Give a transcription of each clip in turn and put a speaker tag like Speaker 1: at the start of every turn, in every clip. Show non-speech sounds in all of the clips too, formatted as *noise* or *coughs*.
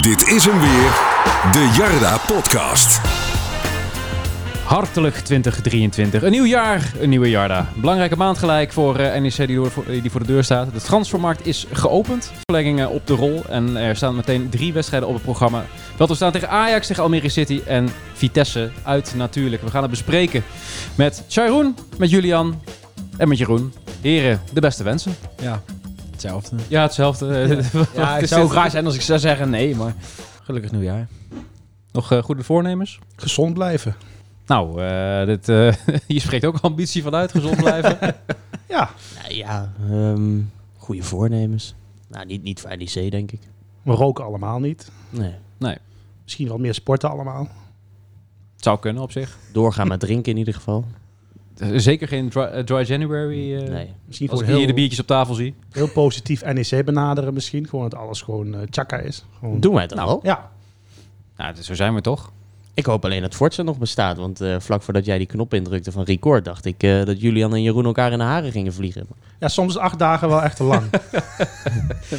Speaker 1: Dit is hem weer, de Jarda Podcast.
Speaker 2: Hartelijk 2023. Een nieuw jaar, een nieuwe Jarda. Belangrijke maand gelijk voor eh, NEC die, door, voor- die voor de deur staat. De transfermarkt is geopend. Verlengingen op de rol. En er staan meteen drie wedstrijden op het programma. Wel te staan tegen Ajax, tegen Almere City en Vitesse uit natuurlijk. We gaan het bespreken met Sharon, met Julian en met Jeroen. Heren, de beste wensen.
Speaker 3: Ja, hetzelfde.
Speaker 2: Ja, hetzelfde. *laughs*
Speaker 3: Ja, het zou graag zijn als ik zou zeggen nee, maar gelukkig nieuwjaar.
Speaker 2: Nog eh, goede voornemens?
Speaker 4: Gezond blijven.
Speaker 2: Nou, eh, dit, eh, *laughs* je spreekt ook ambitie vanuit, gezond blijven.
Speaker 4: Ja,
Speaker 5: Nou ja, ehm goede voornemens. Nou, niet, niet voor NEC, denk ik.
Speaker 4: we roken allemaal niet.
Speaker 5: Nee.
Speaker 4: Misschien wat meer sporten allemaal.
Speaker 2: Het zou kunnen op zich.
Speaker 5: Doorgaan met drinken in ieder geval.
Speaker 2: Zeker geen dry, eh, dry January. eh
Speaker 5: Nee.
Speaker 4: Misschien
Speaker 2: Als
Speaker 4: gewoon
Speaker 2: ik hier de
Speaker 4: heel,
Speaker 2: biertjes op tafel zie.
Speaker 4: heel positief NEC benaderen misschien. Gewoon dat alles gewoon eh tjaka is. Gewoon,
Speaker 5: Doen wij het dan al?
Speaker 4: Ja,
Speaker 2: Nou, dus zo zijn we toch?
Speaker 5: Ik hoop alleen dat Forza nog bestaat. Want eh, vlak voordat jij die knop indrukte van record, dacht ik eh, dat Julian en Jeroen elkaar in de haren gingen vliegen.
Speaker 4: ja, soms is acht dagen wel echt te
Speaker 2: *laughs*
Speaker 4: lang.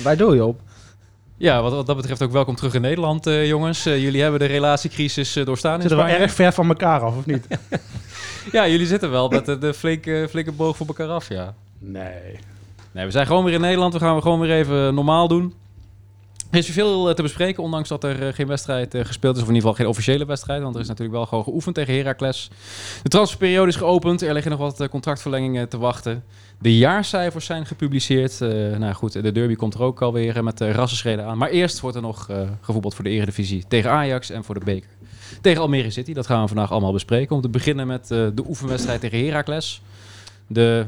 Speaker 3: Waar doe je op?
Speaker 2: Ja, wat, wat dat betreft ook welkom terug in Nederland, eh, jongens. Eh, jullie hebben de relatiecrisis eh, doorstaan in
Speaker 4: Zitten we
Speaker 2: Spanje.
Speaker 4: erg ver van elkaar af, of niet?
Speaker 2: Ja, jullie zitten wel met eh, de flinke, flinke boog voor elkaar af, ja.
Speaker 4: Nee.
Speaker 2: Nee, we zijn gewoon weer in Nederland. We gaan we gewoon weer even normaal doen. Er is veel eh, te bespreken, ondanks dat er eh, geen wedstrijd eh, gespeeld is. Of in ieder geval geen officiële wedstrijd. Want er is natuurlijk wel gewoon geoefend tegen Heracles. De transferperiode is geopend. Er liggen nog wat eh, contractverlengingen te wachten. De jaarcijfers zijn gepubliceerd. Eh, nou goed, de derby komt er ook alweer eh, met eh, rassenschreden aan. Maar eerst wordt er nog eh, gevoetbald voor de Eredivisie tegen Ajax en voor de beker. Tegen Almere City, dat gaan we vandaag allemaal bespreken. Om te beginnen met eh, de oefenwedstrijd tegen Heracles. De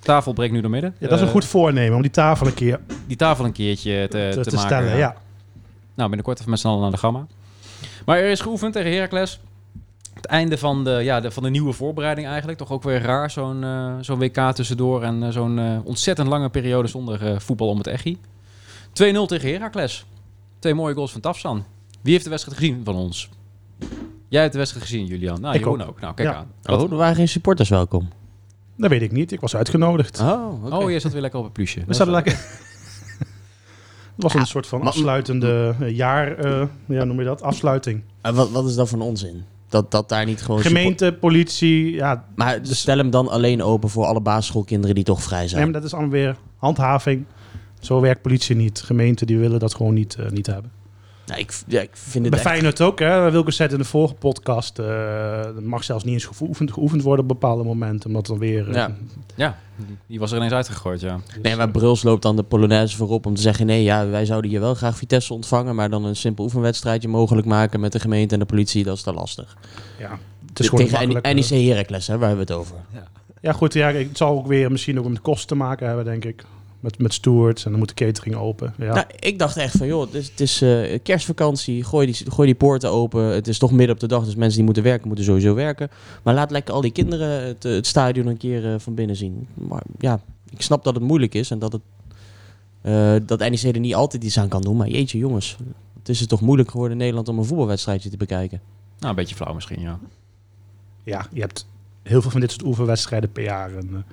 Speaker 2: tafel breekt nu door midden.
Speaker 4: Ja, dat is een
Speaker 2: Eh,
Speaker 4: goed voornemen om die tafel een keer te,
Speaker 2: die tafel een keertje te, te,
Speaker 4: te
Speaker 2: maken.
Speaker 4: stellen. Ja.
Speaker 2: Nou, binnenkort even met z'n allen naar de gamma. Maar er is geoefend tegen Heracles. Het einde van de, ja, de, van de nieuwe voorbereiding eigenlijk. Toch ook weer raar, zo'n eh, zo'n WK tussendoor. En eh, zo'n eh, ontzettend lange periode zonder eh, voetbal om het echi. 2-0 tegen Heracles. Twee mooie goals van Tafsan. Wie heeft de wedstrijd gezien van ons? Jij hebt de wedstrijd gezien, Julian. Nou,
Speaker 4: Ik
Speaker 2: Jeroen ook.
Speaker 4: ook.
Speaker 2: Nou, kijk
Speaker 4: Ja.
Speaker 2: aan.
Speaker 5: Oh, er waren geen supporters welkom.
Speaker 4: Dat weet ik niet. Ik was uitgenodigd.
Speaker 5: Oh, oké.
Speaker 2: Oh, je zat weer lekker op het plusje.
Speaker 4: We zaten lekker... *laughs* Het was een soort van afsluitende eh, jaar, eh, ja, noem je dat, afsluiting.
Speaker 5: En wat, wat is dat voor een onzin? Dat, dat daar niet gewoon... support-
Speaker 4: Gemeente, politie, ja,
Speaker 5: Maar stel hem dan alleen open voor alle basisschoolkinderen die toch vrij zijn.
Speaker 4: Nee, maar dat is allemaal weer handhaving. Zo werkt politie niet. Gemeenten die willen dat gewoon niet, eh, niet hebben.
Speaker 5: Nou, ik, ja, ik vind het
Speaker 4: Bij
Speaker 5: echt...
Speaker 4: Feyenoord ook, hè. Wilke zei het in de vorige podcast... eh, dat mag zelfs niet eens geoefend, geoefend worden op bepaalde momenten. Omdat dan weer... eh,
Speaker 5: Ja.
Speaker 2: Ja, die- die was er ineens uitgegooid, ja. Nou,
Speaker 5: Nee,
Speaker 4: Dus,
Speaker 5: maar Bruls loopt dan de Polonaise voorop om te zeggen... nee, ja, wij zouden hier wel graag Vitesse ontvangen... maar dan een simpel oefenwedstrijdje mogelijk maken met de gemeente en de politie. Dat is te lastig.
Speaker 4: ja, het is gewoon
Speaker 5: Tegen
Speaker 4: makkelijk, eh.
Speaker 5: NEC Heracles, hè, waar hebben we het over.
Speaker 4: Ja, goed. Ja, het zal ook weer misschien ook met kosten te maken hebben, denk ik. Met, met stewards en dan moet de catering open. Ja.
Speaker 5: Nou, ik dacht echt van, joh, het is, het is eh, kerstvakantie. Gooi die, gooi die poorten open. Het is toch midden op de dag, dus mensen die moeten werken, moeten sowieso werken. Maar laat lekker al die kinderen het, eh, het stadion een keer eh, van binnen zien. Maar ja, ik snap dat het moeilijk is en dat, het, eh, dat NEC er niet altijd iets aan kan doen. Maar jeetje, jongens... Het is het toch moeilijk geworden in Nederland om een voetbalwedstrijdje te bekijken.
Speaker 2: Nou, een beetje flauw misschien, ja.
Speaker 4: ja, je hebt heel veel van dit soort oefenwedstrijden per jaar. En,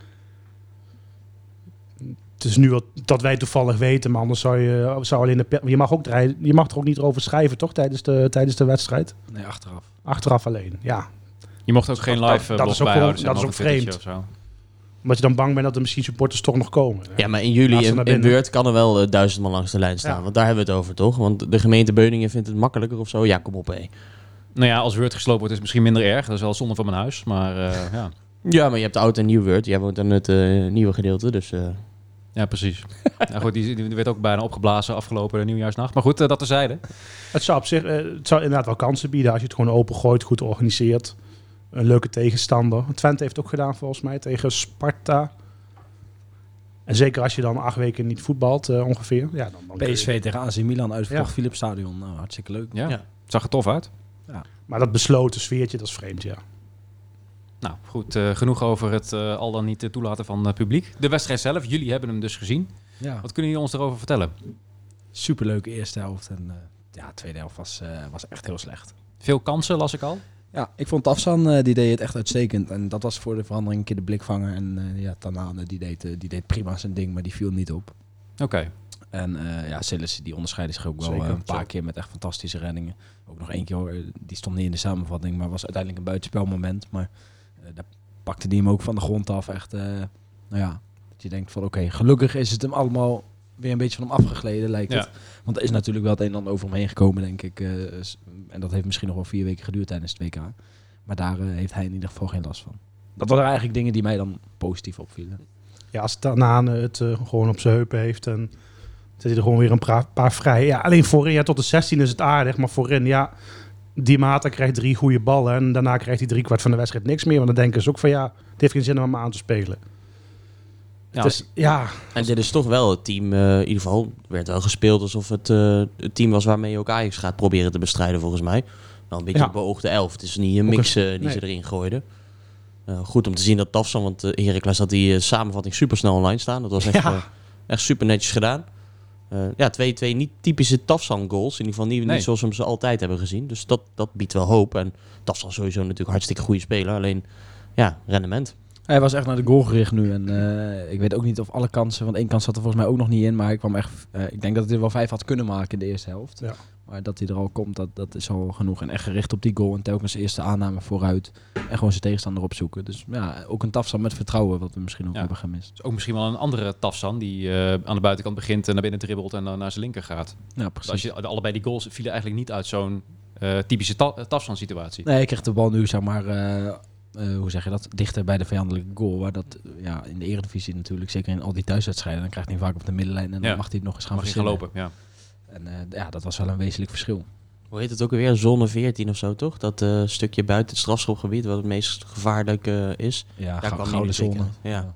Speaker 4: eh, het is nu wat, dat wij toevallig weten, maar anders zou je zou alleen de per- je mag ook draaien, je mag er ook niet over schrijven, toch tijdens de tijdens de wedstrijd.
Speaker 2: Nee, achteraf.
Speaker 4: Achteraf alleen, ja.
Speaker 2: Je mocht ook geen
Speaker 4: dat-
Speaker 2: live eh,
Speaker 4: dat
Speaker 2: blog
Speaker 4: is ook
Speaker 2: bijhouden.
Speaker 4: wel-
Speaker 2: zeg
Speaker 4: dat is
Speaker 2: maar,
Speaker 4: ook
Speaker 2: of een Twittertje of
Speaker 4: Omdat je dan bang bent dat er misschien supporters toch nog komen.
Speaker 5: Ja, maar in juli
Speaker 4: Laat ze
Speaker 5: in,
Speaker 4: naar
Speaker 5: in
Speaker 4: binnen.
Speaker 5: Beurt kan er wel eh, duizend man langs de lijn staan.
Speaker 4: Ja.
Speaker 5: Want daar hebben we het over, toch? Want de gemeente Beuningen vindt het makkelijker of zo. Ja, kom op, hé.
Speaker 2: zo. Nou ja, als Word gesloopt wordt is het misschien minder erg. Dat is wel zonde van mijn huis. Maar eh, ja.
Speaker 5: Ja, maar je hebt oud en nieuw Word. Jij woont aan het eh, nieuwe gedeelte, dus... eh,
Speaker 2: ja, precies. nou goed, die, die werd ook bijna opgeblazen afgelopen nieuwjaarsnacht. Maar goed, eh, dat terzijde.
Speaker 4: Het zou op zich eh, het zou inderdaad wel kansen bieden als je het gewoon open gooit, goed organiseert. Een leuke tegenstander. Twente heeft het ook gedaan volgens mij tegen Sparta. En zeker als je dan acht weken niet voetbalt eh, ongeveer. Ja, dan, dan kun je-
Speaker 3: PSV tegen AC Milan uitverkocht
Speaker 4: Ja.
Speaker 3: Philips Stadion. Nou, hartstikke leuk.
Speaker 2: Ja.
Speaker 5: Ja.
Speaker 2: Zag er tof uit.
Speaker 4: Maar dat besloten sfeertje, dat is vreemd, ja.
Speaker 2: Nou goed, eh, genoeg over het eh, al dan niet eh, toelaten van eh, publiek. De wedstrijd zelf, jullie hebben hem dus gezien.
Speaker 3: Ja.
Speaker 2: Wat kunnen jullie ons daarover vertellen?
Speaker 3: Superleuke eerste helft. En eh, ja, tweede helft was, eh, was echt heel slecht.
Speaker 2: Veel kansen las ik al.
Speaker 3: Ja, ik vond Tafsan, eh, die deed het echt uitstekend. En dat was voor de verandering een keer de blikvanger. En eh, ja, Tanane, die deed, eh, die deed prima zijn ding, maar die viel niet op.
Speaker 2: Oké.
Speaker 3: Eh, En eh ja, Sillissen die onderscheidde zich ook wel
Speaker 4: Zeker,
Speaker 3: eh, een paar
Speaker 4: zo.
Speaker 3: keer met echt fantastische reddingen. Ook nog één keer, hoor, eh, die stond niet in de samenvatting, maar was uiteindelijk een buitenspelmoment. Maar eh, daar pakte die hem ook van de grond af. Echt, eh, nou ja, dat je denkt van oké, gelukkig is het hem allemaal weer een beetje van hem afgegleden, lijkt
Speaker 2: Ja.
Speaker 3: het. Want er is natuurlijk wel het een en ander over hem heen gekomen, denk ik. eh, s- en dat heeft misschien nog wel vier weken geduurd tijdens het WK. Maar daar eh, heeft hij in ieder geval geen last van. Dat waren eigenlijk dingen die mij dan positief opvielen.
Speaker 4: Ja, als Tanane het eh, gewoon op zijn heupen heeft en zet hij er gewoon weer een pra- paar vrij. Ja, alleen voorin, ja, tot de 16 is het aardig, maar voorin, ja, die Mata krijgt drie goede ballen en daarna krijgt hij drie kwart van de wedstrijd niks meer. Want dan denken ze ook van, ja, het heeft geen zin om hem aan te spelen.
Speaker 2: Ja,
Speaker 4: het is, ja,
Speaker 5: En dit is toch wel het team, eh, in ieder geval werd wel gespeeld alsof het eh, het team was waarmee je ook Ajax gaat proberen te bestrijden volgens mij. Wel een beetje
Speaker 4: Ja.
Speaker 5: een beoogde elf. Het is niet een
Speaker 4: Ook
Speaker 5: mix eh, die
Speaker 4: nee.
Speaker 5: ze erin gooiden. Eh, goed om te zien dat Tafsan, want eh, Heracles had die eh, samenvatting supersnel online staan. Dat was echt,
Speaker 4: Ja.
Speaker 5: eh, echt super netjes gedaan. Eh, ja, twee, twee niet typische Tafsan goals. In ieder geval niet, niet
Speaker 2: Nee.
Speaker 5: zoals we hem ze altijd hebben gezien. Dus dat, dat biedt wel hoop. En Tafsan is sowieso natuurlijk hartstikke goede speler. Alleen, ja, rendement.
Speaker 3: Hij was echt naar de goal gericht nu. En eh, ik weet ook niet of alle kansen, want één kans zat er volgens mij ook nog niet in. Maar ik, kwam echt, eh, ik denk dat hij er wel vijf had kunnen maken in de eerste helft.
Speaker 4: Ja.
Speaker 3: Maar dat hij er al komt, dat, dat is al genoeg. En echt gericht op die goal en telkens de eerste aanname vooruit. En gewoon zijn tegenstander opzoeken. Dus ja, ook een tafsel met vertrouwen, wat we misschien ook
Speaker 2: Ja.
Speaker 3: hebben gemist.
Speaker 2: is ook misschien wel een andere Tafsan die eh, aan de buitenkant begint en naar binnen dribbelt en dan naar zijn linker gaat.
Speaker 3: Ja,
Speaker 2: Dus als
Speaker 3: precies.
Speaker 2: je allebei die goals vielen eigenlijk niet uit zo'n eh, typische ta Tafsan situatie.
Speaker 3: Nee, hij kreeg de bal nu, zeg maar, eh, eh, hoe zeg je dat, dichter bij de vijandelijke goal. Waar dat eh, ja, in de eredivisie natuurlijk, zeker in al die thuiswedstrijden, dan krijgt hij hem vaak op de middenlijn. En
Speaker 2: Ja.
Speaker 3: dan mag hij het nog eens gaan
Speaker 2: Mag je gaan
Speaker 3: verzinnen.
Speaker 2: lopen, ja.
Speaker 3: En eh, ja, dat was wel een wezenlijk verschil.
Speaker 5: Hoe heet het ook alweer? Zone 14 of zo, toch? Dat eh, stukje buiten het strafschopgebied, wat het meest gevaarlijk eh, is.
Speaker 3: Ja,
Speaker 5: Daar
Speaker 3: gou-
Speaker 5: kwam
Speaker 3: gouden
Speaker 5: hij niet
Speaker 3: zone.
Speaker 5: zeker. Ja.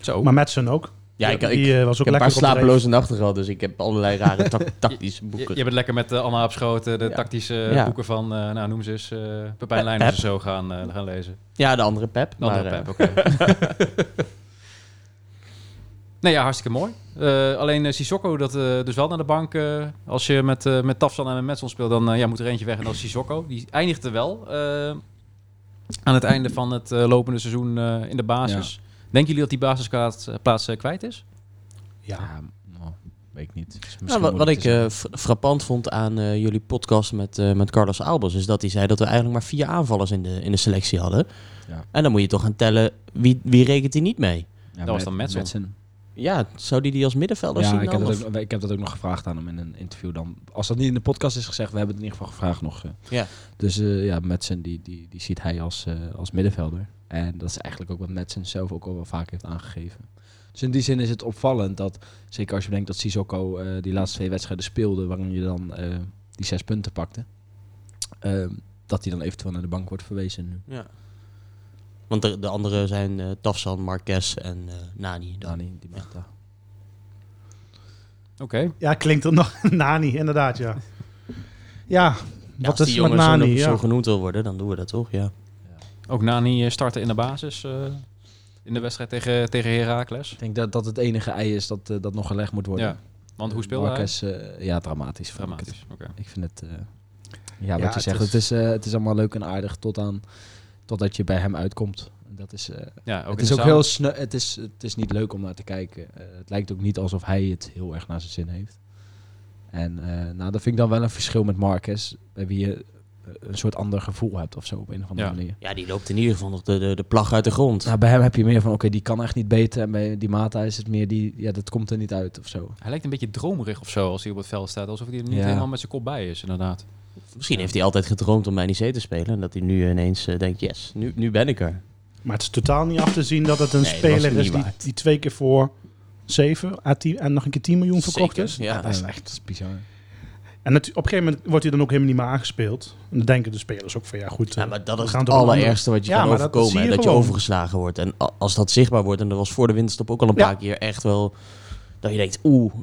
Speaker 2: Zo.
Speaker 4: maar Madsen ook.
Speaker 5: Oh. Ja, ik, ik,
Speaker 4: die eh, was
Speaker 5: ik
Speaker 4: ook
Speaker 5: heb
Speaker 4: lekker
Speaker 5: een paar
Speaker 4: op de reef.
Speaker 5: slapeloze nachten gehad, dus ik heb allerlei *laughs* rare tac- tactische
Speaker 2: Je,
Speaker 5: boeken.
Speaker 2: je bent lekker met eh, Anna Abschoten, de
Speaker 5: Ja.
Speaker 2: tactische
Speaker 5: Ja.
Speaker 2: boeken van, eh, nou noem ze eens, eh Pepijn
Speaker 5: Eh,
Speaker 2: Leijners
Speaker 5: Pep.
Speaker 2: of zo gaan, eh, gaan lezen.
Speaker 5: Ja, de andere Pep.
Speaker 2: Dan
Speaker 5: maar,
Speaker 2: de
Speaker 5: eh,
Speaker 2: Pep, oké. *laughs* nee, ja, hartstikke mooi. Eh, alleen eh, Sissoko, dat eh, dus wel naar de bank. eh, als je met, eh, met Tafsan en met Metson speelt, dan eh, ja, moet er eentje weg. En dat is Sissoko. Die eindigt er wel eh, aan het einde van het eh, lopende seizoen eh, in de basis. Denken jullie dat die basisplaats eh, plaats, eh, kwijt is?
Speaker 4: Ja,
Speaker 3: Ja, nou, weet ik niet. Is misschien
Speaker 5: Nou, wat, wat
Speaker 3: moeilijk
Speaker 5: ik
Speaker 3: te zeggen.
Speaker 5: eh, fra- frappant vond aan eh, jullie podcast met, eh, met Carlos Albers, is dat hij zei dat we eigenlijk maar vier aanvallers in de, in de selectie hadden.
Speaker 3: Ja.
Speaker 5: En dan moet je toch gaan tellen, wie, wie rekent hij niet mee?
Speaker 3: Ja,
Speaker 2: was
Speaker 3: met-
Speaker 2: dan Metson.
Speaker 5: Ja, zou die die als middenvelder
Speaker 3: Ja,
Speaker 5: zien
Speaker 3: ik heb,
Speaker 5: dan?
Speaker 3: dat
Speaker 5: Of-
Speaker 3: ook, ik heb dat ook nog gevraagd aan hem in een interview dan. Als dat niet in de podcast is gezegd, we hebben het in ieder geval gevraagd nog. eh.
Speaker 5: Ja.
Speaker 3: Dus eh, ja, Metsen die, die, die ziet hij als, eh, als middenvelder. En dat is eigenlijk ook wat Metsen zelf ook al wel vaak heeft aangegeven. Dus in die zin is het opvallend dat, zeker als je denkt dat Sissoko eh, die laatste twee wedstrijden speelde, waarin je dan eh, die zes punten pakte, eh, dat hij dan eventueel naar de bank wordt verwezen nu.
Speaker 5: Ja. Want de, de anderen zijn eh Tafsan, Marquez en eh, Nani. Dan.
Speaker 3: Dani, die Mata.
Speaker 2: Oké.
Speaker 4: ja klinkt er nog. *laughs* Nani, inderdaad, ja. Ja,
Speaker 5: Ja,
Speaker 4: wat
Speaker 5: als
Speaker 4: is
Speaker 5: die
Speaker 4: er met
Speaker 5: jongen zo,
Speaker 4: Nani?
Speaker 5: noem- zo
Speaker 4: Ja.
Speaker 5: genoemd wil worden, dan doen we dat toch, ja.
Speaker 2: Ook Nani eh, starten in de basis eh, in de wedstrijd tegen, tegen Heracles.
Speaker 3: Ik denk dat dat het enige ei is dat, eh, dat nog gelegd moet worden.
Speaker 2: Ja. Want hoe speelde hij?
Speaker 3: Marquez, eh, ja, dramatisch. vond ik het.
Speaker 2: Dramatisch. Oké.
Speaker 3: Ik vind het... eh, ja, wat
Speaker 4: Ja,
Speaker 3: je
Speaker 4: het
Speaker 3: zegt,
Speaker 4: is-
Speaker 3: het is, eh, het is allemaal leuk en aardig tot aan, totdat je bij hem uitkomt. Dat is, eh,
Speaker 2: Ja, ook in
Speaker 3: het
Speaker 2: de
Speaker 3: is ook
Speaker 2: zaal.
Speaker 3: heel sneu, het is, het is niet leuk om naar te kijken. Eh, het lijkt ook niet alsof hij het heel erg naar zijn zin heeft. En eh, nou, dat vind ik dan wel een verschil met Marquez, bij wie je eh, een soort ander gevoel hebt of zo op een of andere
Speaker 2: Ja.
Speaker 3: manier.
Speaker 5: Ja, die loopt in ieder geval nog de, de, de plag uit de grond.
Speaker 3: Nou, bij hem heb je meer van, oké, die kan echt niet beter. En bij die Mata is het meer, die, ja, dat komt er niet uit of zo.
Speaker 2: Hij lijkt een beetje dromerig of zo als hij op het veld staat. Alsof hij er niet
Speaker 3: Ja.
Speaker 2: helemaal met zijn kop bij is, inderdaad.
Speaker 5: Misschien heeft hij altijd gedroomd om bij NEC te spelen. En dat hij nu ineens eh, denkt, yes, nu, nu ben ik er.
Speaker 4: Maar het is totaal niet af te zien dat het een
Speaker 5: Nee, dat was
Speaker 4: speler
Speaker 5: niet
Speaker 4: is die,
Speaker 5: waard.
Speaker 4: die twee keer voor 7 à 10 en nog een keer 10 miljoen verkocht
Speaker 5: Zeker,
Speaker 4: is. Eh,
Speaker 5: Ja.
Speaker 3: Ah, Ehm, dat is echt bizar.
Speaker 4: En het- op een gegeven moment wordt hij dan ook helemaal niet meer aangespeeld. En dan denken de spelers ook van ja goed,
Speaker 5: Ja,
Speaker 4: eh,
Speaker 5: maar dat
Speaker 4: we
Speaker 5: is
Speaker 4: gaan
Speaker 5: het
Speaker 4: door een
Speaker 5: allerergste wat je
Speaker 4: Ja,
Speaker 5: kan
Speaker 4: maar dat- dat
Speaker 5: overkomen. hè,
Speaker 4: zie je
Speaker 5: Dat, je
Speaker 4: gewoon.
Speaker 5: overgeslagen wordt. En a- als dat zichtbaar wordt, en dat was voor de winterstop ook al een
Speaker 4: Ja.
Speaker 5: paar keer echt wel... Dat je denkt, oeh,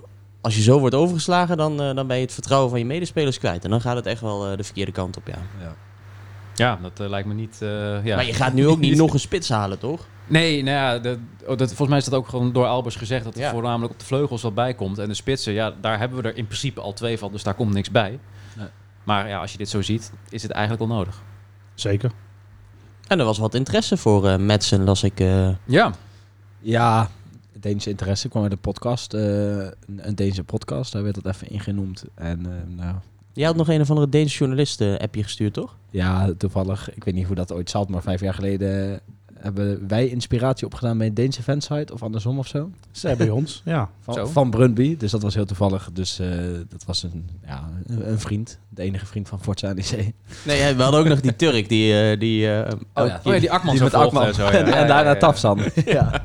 Speaker 5: als je zo wordt overgeslagen, dan, eh, dan ben je het vertrouwen van je medespelers kwijt. En dan gaat het echt wel eh, de verkeerde kant op, ja.
Speaker 2: Ja, dat eh, lijkt me niet... eh, ja.
Speaker 5: Maar je gaat
Speaker 2: *laughs*
Speaker 5: nu ook
Speaker 4: *laughs*
Speaker 5: niet nog een spits halen, toch?
Speaker 2: Nee, nou ja, dat, oh, dat, volgens mij is dat ook gewoon door Albers gezegd... dat er
Speaker 5: Ja.
Speaker 2: voornamelijk op de vleugels wat bij komt. En de spitsen, ja, daar hebben we er in principe al twee van. Dus daar komt niks bij.
Speaker 3: Nee.
Speaker 2: Maar ja, als je dit zo ziet, is het eigenlijk al nodig.
Speaker 4: Zeker.
Speaker 5: En er was wat interesse voor eh Madsen, las ik. eh.
Speaker 2: Ja,
Speaker 3: Ja, Deense interesse kwam uit een podcast, eh, een, een Deense podcast. Daar werd dat even ingenoemd. En eh, nou,
Speaker 5: Jij had nog een of andere Deense journalist eh, appje gestuurd, toch?
Speaker 3: ja, toevallig, ik weet niet hoe dat ooit zat, maar vijf jaar geleden hebben wij inspiratie opgedaan bij een Deense fansite of andersom of zo.
Speaker 4: Ze hebben bij
Speaker 5: *laughs*
Speaker 4: ons. Ja.
Speaker 2: Zo.
Speaker 3: Van, van Brunby, dus dat was heel toevallig. Dus eh, dat was een, ja, een, een vriend, de enige vriend van Forza E NEC.
Speaker 5: Nee, we hadden ook nog die Turk die... eh, die eh,
Speaker 3: Oh
Speaker 5: ook-
Speaker 3: ja.
Speaker 2: Oh ja, die Akman
Speaker 3: Die
Speaker 2: zo
Speaker 3: met
Speaker 2: volgt
Speaker 3: Akman.
Speaker 2: en zo.
Speaker 3: *laughs*
Speaker 2: ja.
Speaker 3: en,
Speaker 2: Ja, ja,
Speaker 3: en daarna
Speaker 2: ja, ja. *laughs*
Speaker 3: Tafsan. ja.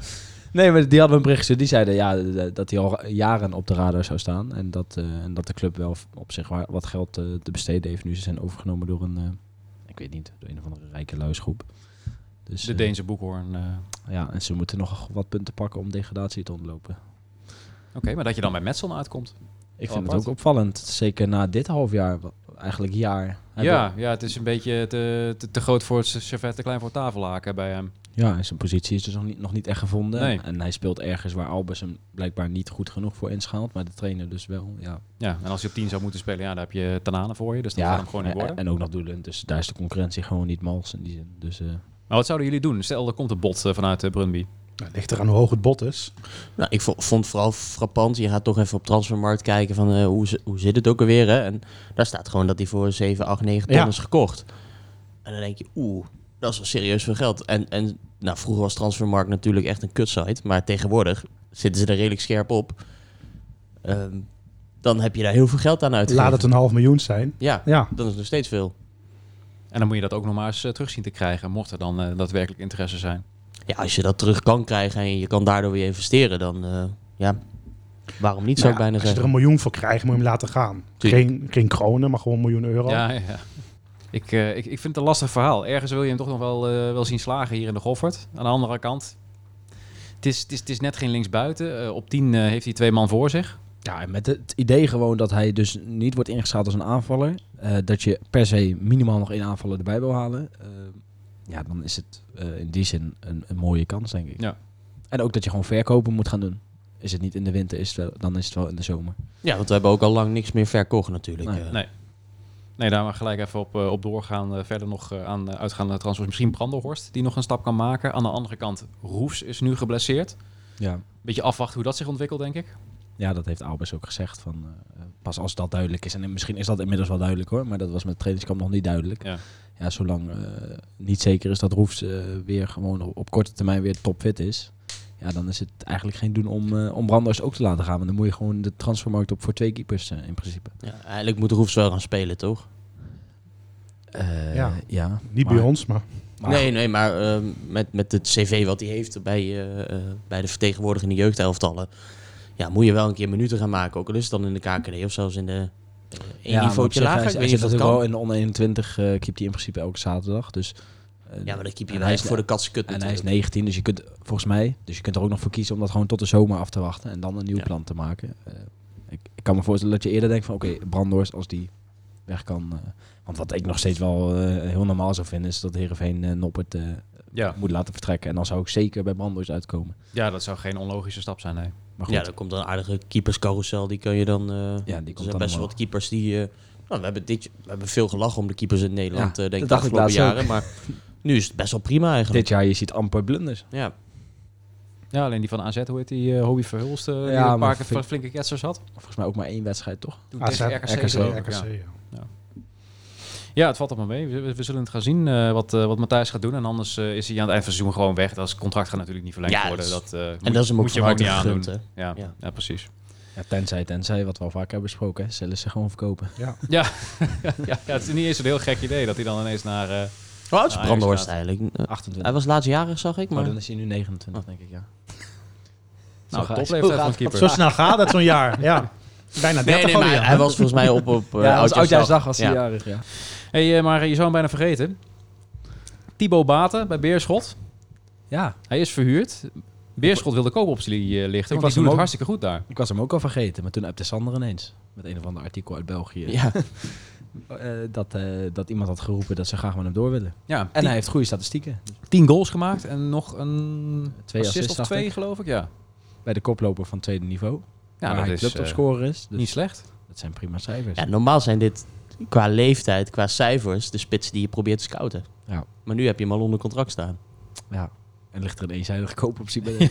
Speaker 3: Nee, maar die hadden een bericht gestuurd. Die zeiden ja, d- dat hij al jaren op de radar zou staan. En dat, eh, en dat de club wel op zich wa- wat geld eh, te besteden heeft. Nu ze zijn overgenomen door een, eh, ik weet niet, door een of andere rijke luisgroep. Dus,
Speaker 2: De
Speaker 3: eh,
Speaker 2: Deense boekhoorn. eh.
Speaker 3: ja, en ze moeten nog wat punten pakken om degradatie te ontlopen.
Speaker 2: Oké, maar dat je dan bij Metson uitkomt.
Speaker 3: Ik
Speaker 2: Wel
Speaker 3: vind het
Speaker 2: apart.
Speaker 3: ook opvallend. Zeker na dit half jaar, wa- eigenlijk jaar. Hij
Speaker 2: Ja, ja, het is een beetje te, te, te groot voor het servet, te klein voor het tafellaken bij hem.
Speaker 3: Ja, en zijn positie is dus nog niet, nog niet echt gevonden.
Speaker 2: Nee.
Speaker 3: En hij speelt ergens waar Albers hem blijkbaar niet goed genoeg voor inschaalt. Maar de trainer dus wel, ja.
Speaker 2: Ja, en als je op 10 zou moeten spelen, ja, daar heb je Tanane voor je. Dus dat gaat hem gewoon niet
Speaker 3: en-
Speaker 2: worden.
Speaker 3: En ook nog Doelen. Dus daar is de concurrentie gewoon niet mals in die zin. Dus eh,
Speaker 2: Maar wat zouden jullie doen? Stel, er komt een bot eh, vanuit eh, Brunby.
Speaker 4: Nou, ligt eraan hoe hoog het bot is.
Speaker 5: Nou, ik vo- vond vooral frappant. Je gaat toch even op transfermarkt kijken van eh, hoe, zi- hoe zit het ook alweer. Hè? En daar staat gewoon dat hij voor 7, 8, 9 ton
Speaker 4: Ja.
Speaker 5: is gekocht. En dan denk je, oeh, dat is wel serieus veel geld. En, en nou, vroeger was transfermarkt natuurlijk echt een kutsite. Maar tegenwoordig zitten ze er redelijk scherp op. Ehm, dan heb je daar heel veel geld aan uitgegeven.
Speaker 4: Laat het een half miljoen zijn.
Speaker 5: Ja,
Speaker 4: Ja.
Speaker 5: dat is nog steeds veel.
Speaker 2: En dan moet je dat ook nog maar eens eh, terug zien te krijgen, mocht er dan eh, daadwerkelijk interesse zijn.
Speaker 5: Ja, als je dat terug kan krijgen en je kan daardoor weer investeren, dan eh, ja, waarom niet
Speaker 4: Nou
Speaker 5: zou
Speaker 4: ja,
Speaker 5: ik
Speaker 4: als
Speaker 5: bijna
Speaker 4: je
Speaker 5: zeggen.
Speaker 4: er een miljoen voor krijgt, moet je hem laten gaan.
Speaker 5: Tuurlijk.
Speaker 4: Geen, geen kronen, maar gewoon een miljoen euro.
Speaker 2: Ja, ja. ja. Ik, eh, ik, ik vind het een lastig verhaal. Ergens wil je hem toch nog wel, eh, wel zien slagen hier in de Goffert. Aan de andere kant, het is, het is, het is net geen linksbuiten. Eh, op 10 eh, heeft hij twee man voor zich.
Speaker 3: ja, en met het idee gewoon dat hij dus niet wordt ingeschaald als een aanvaller. eh, dat je per se minimaal nog één aanvaller erbij wil halen. eh, ja, dan is het eh, in die zin een, een mooie kans, denk ik.
Speaker 2: Ja.
Speaker 3: En ook dat je gewoon verkopen moet gaan doen. Is het niet in de winter, is het wel, dan is het wel in de zomer.
Speaker 5: Ja, want we hebben ook al lang niks meer verkocht natuurlijk.
Speaker 3: Nee.
Speaker 5: eh.
Speaker 2: Nee. Nee, daar maar gelijk even op, eh, op doorgaan. Eh, verder nog eh, aan eh, uitgaande transfers. Misschien Brandelhorst, die nog een stap kan maken. Aan de andere kant, Roefs is nu geblesseerd.
Speaker 3: Ja.
Speaker 2: Beetje afwachten hoe dat zich ontwikkelt, denk ik.
Speaker 3: Ja, dat heeft Albers ook gezegd. Van, eh, pas als dat duidelijk is. En misschien is dat inmiddels wel duidelijk hoor. Maar dat was met het trainingskamp nog niet duidelijk.
Speaker 2: Ja.
Speaker 3: Ja, zolang eh, niet zeker is dat Roefs eh, weer gewoon op, op korte termijn weer topfit is. Ja, dan is het eigenlijk geen doen om, eh, om Branders ook te laten gaan. Want dan moet je gewoon de transfermarkt op voor twee keepers eh, in principe.
Speaker 5: Ja, eigenlijk moet Roefs wel gaan spelen, toch?
Speaker 3: Eh,
Speaker 4: Ja.
Speaker 3: ja.
Speaker 4: Niet
Speaker 3: maar-
Speaker 4: bij ons, maar
Speaker 3: maar-
Speaker 5: nee, nee, maar ehm, met, met het cv wat hij heeft bij, eh, eh, bij de vertegenwoordigende jeugdelftallen... Ja, moet je wel een keer minuten gaan maken. Ook al is het dan in de KKD of zelfs in de... eh, één
Speaker 3: maar op
Speaker 5: niveautje
Speaker 3: zich, hij-
Speaker 5: lager. Ik
Speaker 3: Hij,
Speaker 5: weet niet
Speaker 3: zit
Speaker 5: of dat
Speaker 3: natuurlijk
Speaker 5: kan.
Speaker 3: wel in de onder 21. eh keept hij in principe elke zaterdag. Dus, eh,
Speaker 5: Ja, maar dan keep
Speaker 3: en
Speaker 5: je wel
Speaker 3: hij
Speaker 5: echt
Speaker 3: is-
Speaker 5: voor de katse kut
Speaker 3: En hij is
Speaker 5: natuurlijk.
Speaker 3: 19, dus je kunt volgens mij, dus je kunt er ook nog voor kiezen om dat gewoon tot de zomer af te wachten en dan een nieuw
Speaker 5: Ja.
Speaker 3: plan te maken. Eh, ik, ik kan me voorstellen dat je eerder denkt van oké, Brandhorst als die weg kan. eh, want wat ik nog steeds wel eh, heel normaal zou vinden, is dat Heerenveen eh Noppert eh,
Speaker 2: Ja.
Speaker 3: moet laten vertrekken. En dan zou ik zeker bij Brandhorst uitkomen.
Speaker 2: ja, dat zou geen onlogische stap zijn, nee.
Speaker 3: Maar goed,
Speaker 5: Ja, dan komt er een aardige keeperscarousel. Die kun je dan... eh,
Speaker 3: die
Speaker 5: er
Speaker 3: komt
Speaker 5: zijn
Speaker 3: dan
Speaker 5: best wel
Speaker 3: omhoog.
Speaker 5: wat keepers die... eh, nou, we, hebben dit, we hebben veel gelachen om de keepers in Nederland,
Speaker 3: Ja,
Speaker 5: eh, denk
Speaker 3: dat
Speaker 5: ik, de
Speaker 3: dacht ik
Speaker 5: afgelopen
Speaker 3: laatst ook.
Speaker 5: jaren. Maar
Speaker 3: *laughs*
Speaker 5: nu is het best wel prima eigenlijk.
Speaker 3: dit jaar je ziet amper blunders.
Speaker 5: Ja.
Speaker 2: Ja, alleen die van AZ, hoe heet die, eh, Hobby Verhulst, eh, die
Speaker 3: maar
Speaker 2: een paar keer
Speaker 3: vind-
Speaker 2: fl- flinke ketsers had.
Speaker 3: Volgens mij ook maar één wedstrijd toch?
Speaker 2: Toen
Speaker 4: AZ,
Speaker 2: tegen
Speaker 4: RKC,
Speaker 2: RKC, geloof ik,
Speaker 4: RKC,
Speaker 2: Ja.
Speaker 4: ja.
Speaker 2: ja, het valt allemaal mee. We, we zullen het gaan zien eh, wat, eh, wat Matthijs gaat doen. En anders eh, is hij aan het eind van het seizoen gewoon weg. Dat is- contract gaat natuurlijk niet verlengd
Speaker 5: Ja, dat
Speaker 2: worden.
Speaker 5: is-
Speaker 2: Dat, eh, moet,
Speaker 5: En dat is hem ook
Speaker 2: moet je
Speaker 5: van
Speaker 2: hem ook
Speaker 5: harte
Speaker 2: niet
Speaker 5: gegund,
Speaker 2: aandoen.
Speaker 5: hè.
Speaker 2: Ja, ja.
Speaker 5: Ja.
Speaker 2: precies. *laughs*
Speaker 3: Ja, tenzij, tenzij, wat we al vaak hebben besproken, hè, zullen ze gewoon verkopen. *laughs*
Speaker 2: ja, ja, het is niet eens een heel gek idee dat hij dan ineens naar... eh,
Speaker 5: Hoe oud Oh, is
Speaker 2: Ah,
Speaker 5: Brandhorst
Speaker 2: inderdaad.
Speaker 5: eigenlijk? Eh,
Speaker 3: 28.
Speaker 5: Hij was laatst jarig, zag ik,
Speaker 3: maar
Speaker 5: maar...
Speaker 3: dan is hij nu 29, denk ik, ja. Zo
Speaker 2: nou,
Speaker 3: ga-
Speaker 2: topleeftijd
Speaker 3: zo
Speaker 2: van een
Speaker 3: gaat-
Speaker 2: keeper.
Speaker 4: Zo snel gaat het zo'n jaar. Ja. Bijna 30
Speaker 5: Nee, nee,
Speaker 4: alweer.
Speaker 5: maar hij was volgens mij
Speaker 3: *laughs*
Speaker 5: op, op eh,
Speaker 3: Ja, als oudjaarsdag was hij
Speaker 5: Ja.
Speaker 3: jarig, ja.
Speaker 2: Hey, eh, maar je zou hem bijna vergeten. Thibaut Baten bij Beerschot.
Speaker 3: Ja,
Speaker 2: Hij is verhuurd. Beerschot wil de koopoptie eh, lichten, want
Speaker 3: was
Speaker 2: die doen
Speaker 3: hem
Speaker 2: het
Speaker 3: ook-
Speaker 2: hartstikke goed daar.
Speaker 3: Ik was hem ook al vergeten, maar toen appte Sander ineens. Met een of ander artikel uit België. *laughs*
Speaker 5: Ja,
Speaker 3: eh, dat, eh, dat iemand had geroepen dat ze graag met hem door willen.
Speaker 2: Ja,
Speaker 3: En hij heeft goede statistieken.
Speaker 2: 10 goals gemaakt en nog een
Speaker 3: Twee
Speaker 2: assist,
Speaker 3: assists,
Speaker 2: of
Speaker 3: dacht
Speaker 2: twee,
Speaker 3: ik.
Speaker 2: geloof ik. Ja,
Speaker 3: Bij de koploper van tweede niveau.
Speaker 2: ja
Speaker 3: waar
Speaker 2: dat
Speaker 3: nou, hij
Speaker 2: is eh,
Speaker 3: clubtopscorer is. Dus
Speaker 2: niet
Speaker 3: *laughs*
Speaker 2: slecht.
Speaker 3: dat zijn prima cijfers.
Speaker 5: ja, normaal zijn dit qua leeftijd, qua cijfers, de spitsen die je probeert te scouten.
Speaker 3: Ja.
Speaker 5: Maar nu heb je hem al onder contract staan.
Speaker 3: Ja. En ligt er een eenzijdig koopoptie bij. de-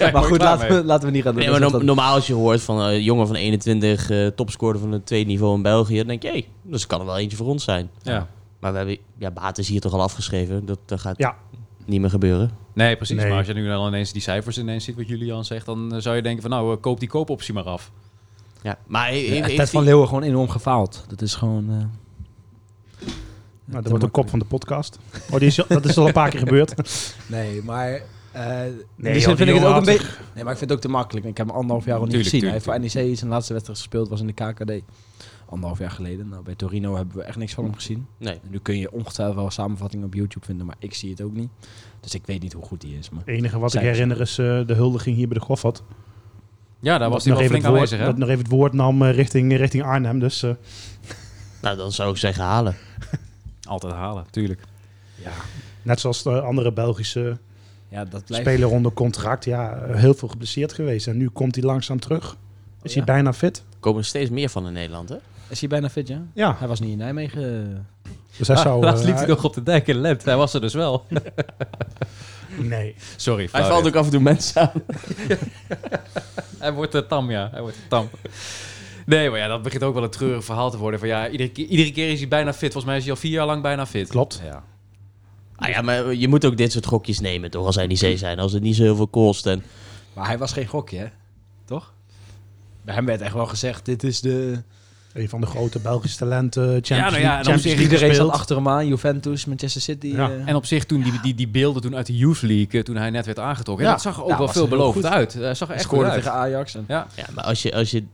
Speaker 3: maar
Speaker 2: mooi
Speaker 3: goed,
Speaker 2: klaar
Speaker 3: laten
Speaker 2: mee.
Speaker 3: we, laten we niet gaan doen.
Speaker 5: Nee, maar
Speaker 3: alsof
Speaker 5: no-
Speaker 3: dat-
Speaker 5: normaal als je hoort van eh, jongen van 21, eh topscorer van het tweede niveau in België, dan denk je, hé, dus kan er wel eentje voor ons zijn.
Speaker 2: Ja.
Speaker 5: Maar we hebben, ja, Baat is hier toch al afgeschreven. Dat eh, gaat
Speaker 4: Ja.
Speaker 5: niet meer gebeuren.
Speaker 2: Nee, precies.
Speaker 4: Nee.
Speaker 2: Maar als je nu dan ineens die cijfers ineens ziet wat Julian zegt, dan eh, zou je denken van nou, eh, koop die koopoptie maar af.
Speaker 5: Ja, maar he-
Speaker 3: Ja,
Speaker 5: heeft
Speaker 3: Ted
Speaker 5: die-
Speaker 3: van Leeuwen gewoon enorm gefaald. Dat is gewoon... eh,
Speaker 4: Nou, dat wordt de kop van de podcast. Oh, die is, dat is al een paar keer gebeurd.
Speaker 3: Nee, maar... eh
Speaker 4: *laughs* Nee,
Speaker 3: nee,
Speaker 2: Dus
Speaker 4: joh,
Speaker 3: vind ik
Speaker 4: die
Speaker 3: het ook een
Speaker 4: jongen
Speaker 3: beetje. Nee, maar ik vind het ook te makkelijk. Ik heb hem anderhalf jaar al niet
Speaker 2: Tuurlijk,
Speaker 3: gezien.
Speaker 2: tuurlijk,
Speaker 3: Hij heeft voor NEC zijn laatste wedstrijd gespeeld was in de KKD. Anderhalf jaar geleden. Nou, bij Torino hebben we echt niks van hem gezien.
Speaker 5: Nee.
Speaker 3: Nu kun je ongetwijfeld wel samenvattingen op YouTube vinden, maar ik zie het ook niet. Dus ik weet niet hoe goed die is. Maar
Speaker 4: Het enige wat ik
Speaker 3: Cijfers.
Speaker 4: herinner is eh, de huldiging hier bij de Goffert.
Speaker 2: Ja, daar was hij wel flink
Speaker 4: het woord,
Speaker 2: aanwezig, hè?
Speaker 4: Dat nog even het woord nam eh, richting, richting Arnhem. Dus eh,
Speaker 5: Nou, dan zou ik zeggen halen.
Speaker 2: Altijd halen, tuurlijk.
Speaker 4: net zoals de andere Belgische
Speaker 3: ja, dat blijft.
Speaker 4: speler onder contract. Ja, eh, heel veel geblesseerd geweest. En nu komt hij langzaam terug.
Speaker 2: Oh,
Speaker 4: Is
Speaker 3: Ja.
Speaker 4: hij bijna fit?
Speaker 5: Er komen er steeds meer van in Nederland, hè?
Speaker 3: Is hij bijna fit, ja?
Speaker 4: Ja.
Speaker 3: Hij was niet in Nijmegen.
Speaker 2: *laughs*
Speaker 4: Dus hij zou...
Speaker 2: Ah, Laatst
Speaker 4: eh,
Speaker 2: liep hij nog op de dijk in Lent. Hij was er dus wel. *laughs*
Speaker 4: Nee.
Speaker 2: Sorry,
Speaker 5: Hij
Speaker 2: flauw
Speaker 5: valt
Speaker 2: dit.
Speaker 5: ook af en toe mensen aan.
Speaker 2: Hij wordt de tam, ja. Hij wordt de tam. Nee, maar ja, dat begint ook wel een treurig verhaal te worden. Van ja, iedere keer, iedere keer is hij bijna fit. Volgens mij is hij al vier jaar lang bijna fit.
Speaker 4: Klopt.
Speaker 2: Ja.
Speaker 5: Ah ja, maar je moet ook dit soort gokjes nemen, toch? Als hij niet zee zijn, als het niet zo heel veel kost. En
Speaker 3: Maar hij was geen gokje, hè? Toch? Bij hem werd echt wel gezegd, dit is de...
Speaker 4: Een van de grote Belgische talenten. Champions,
Speaker 2: Ja, nou ja, en op
Speaker 4: League- Champions
Speaker 2: zich
Speaker 4: League
Speaker 3: Iedereen zat
Speaker 4: gespeeld.
Speaker 3: achter hem aan. Juventus, Manchester City.
Speaker 4: Ja.
Speaker 3: eh.
Speaker 2: En op zich, toen die, die, die beelden toen uit de Youth League, eh, toen hij net werd aangetrokken. Ja,
Speaker 3: Ja.
Speaker 2: dat zag er ook
Speaker 3: Ja,
Speaker 2: wel
Speaker 3: was heel
Speaker 2: veelbelovend
Speaker 3: goed.
Speaker 2: uit. Hij zag er
Speaker 3: Hij
Speaker 2: echt goed
Speaker 3: scoorde
Speaker 2: uit.
Speaker 3: tegen Ajax. En...
Speaker 2: Ja.
Speaker 5: Ja, maar als je, als je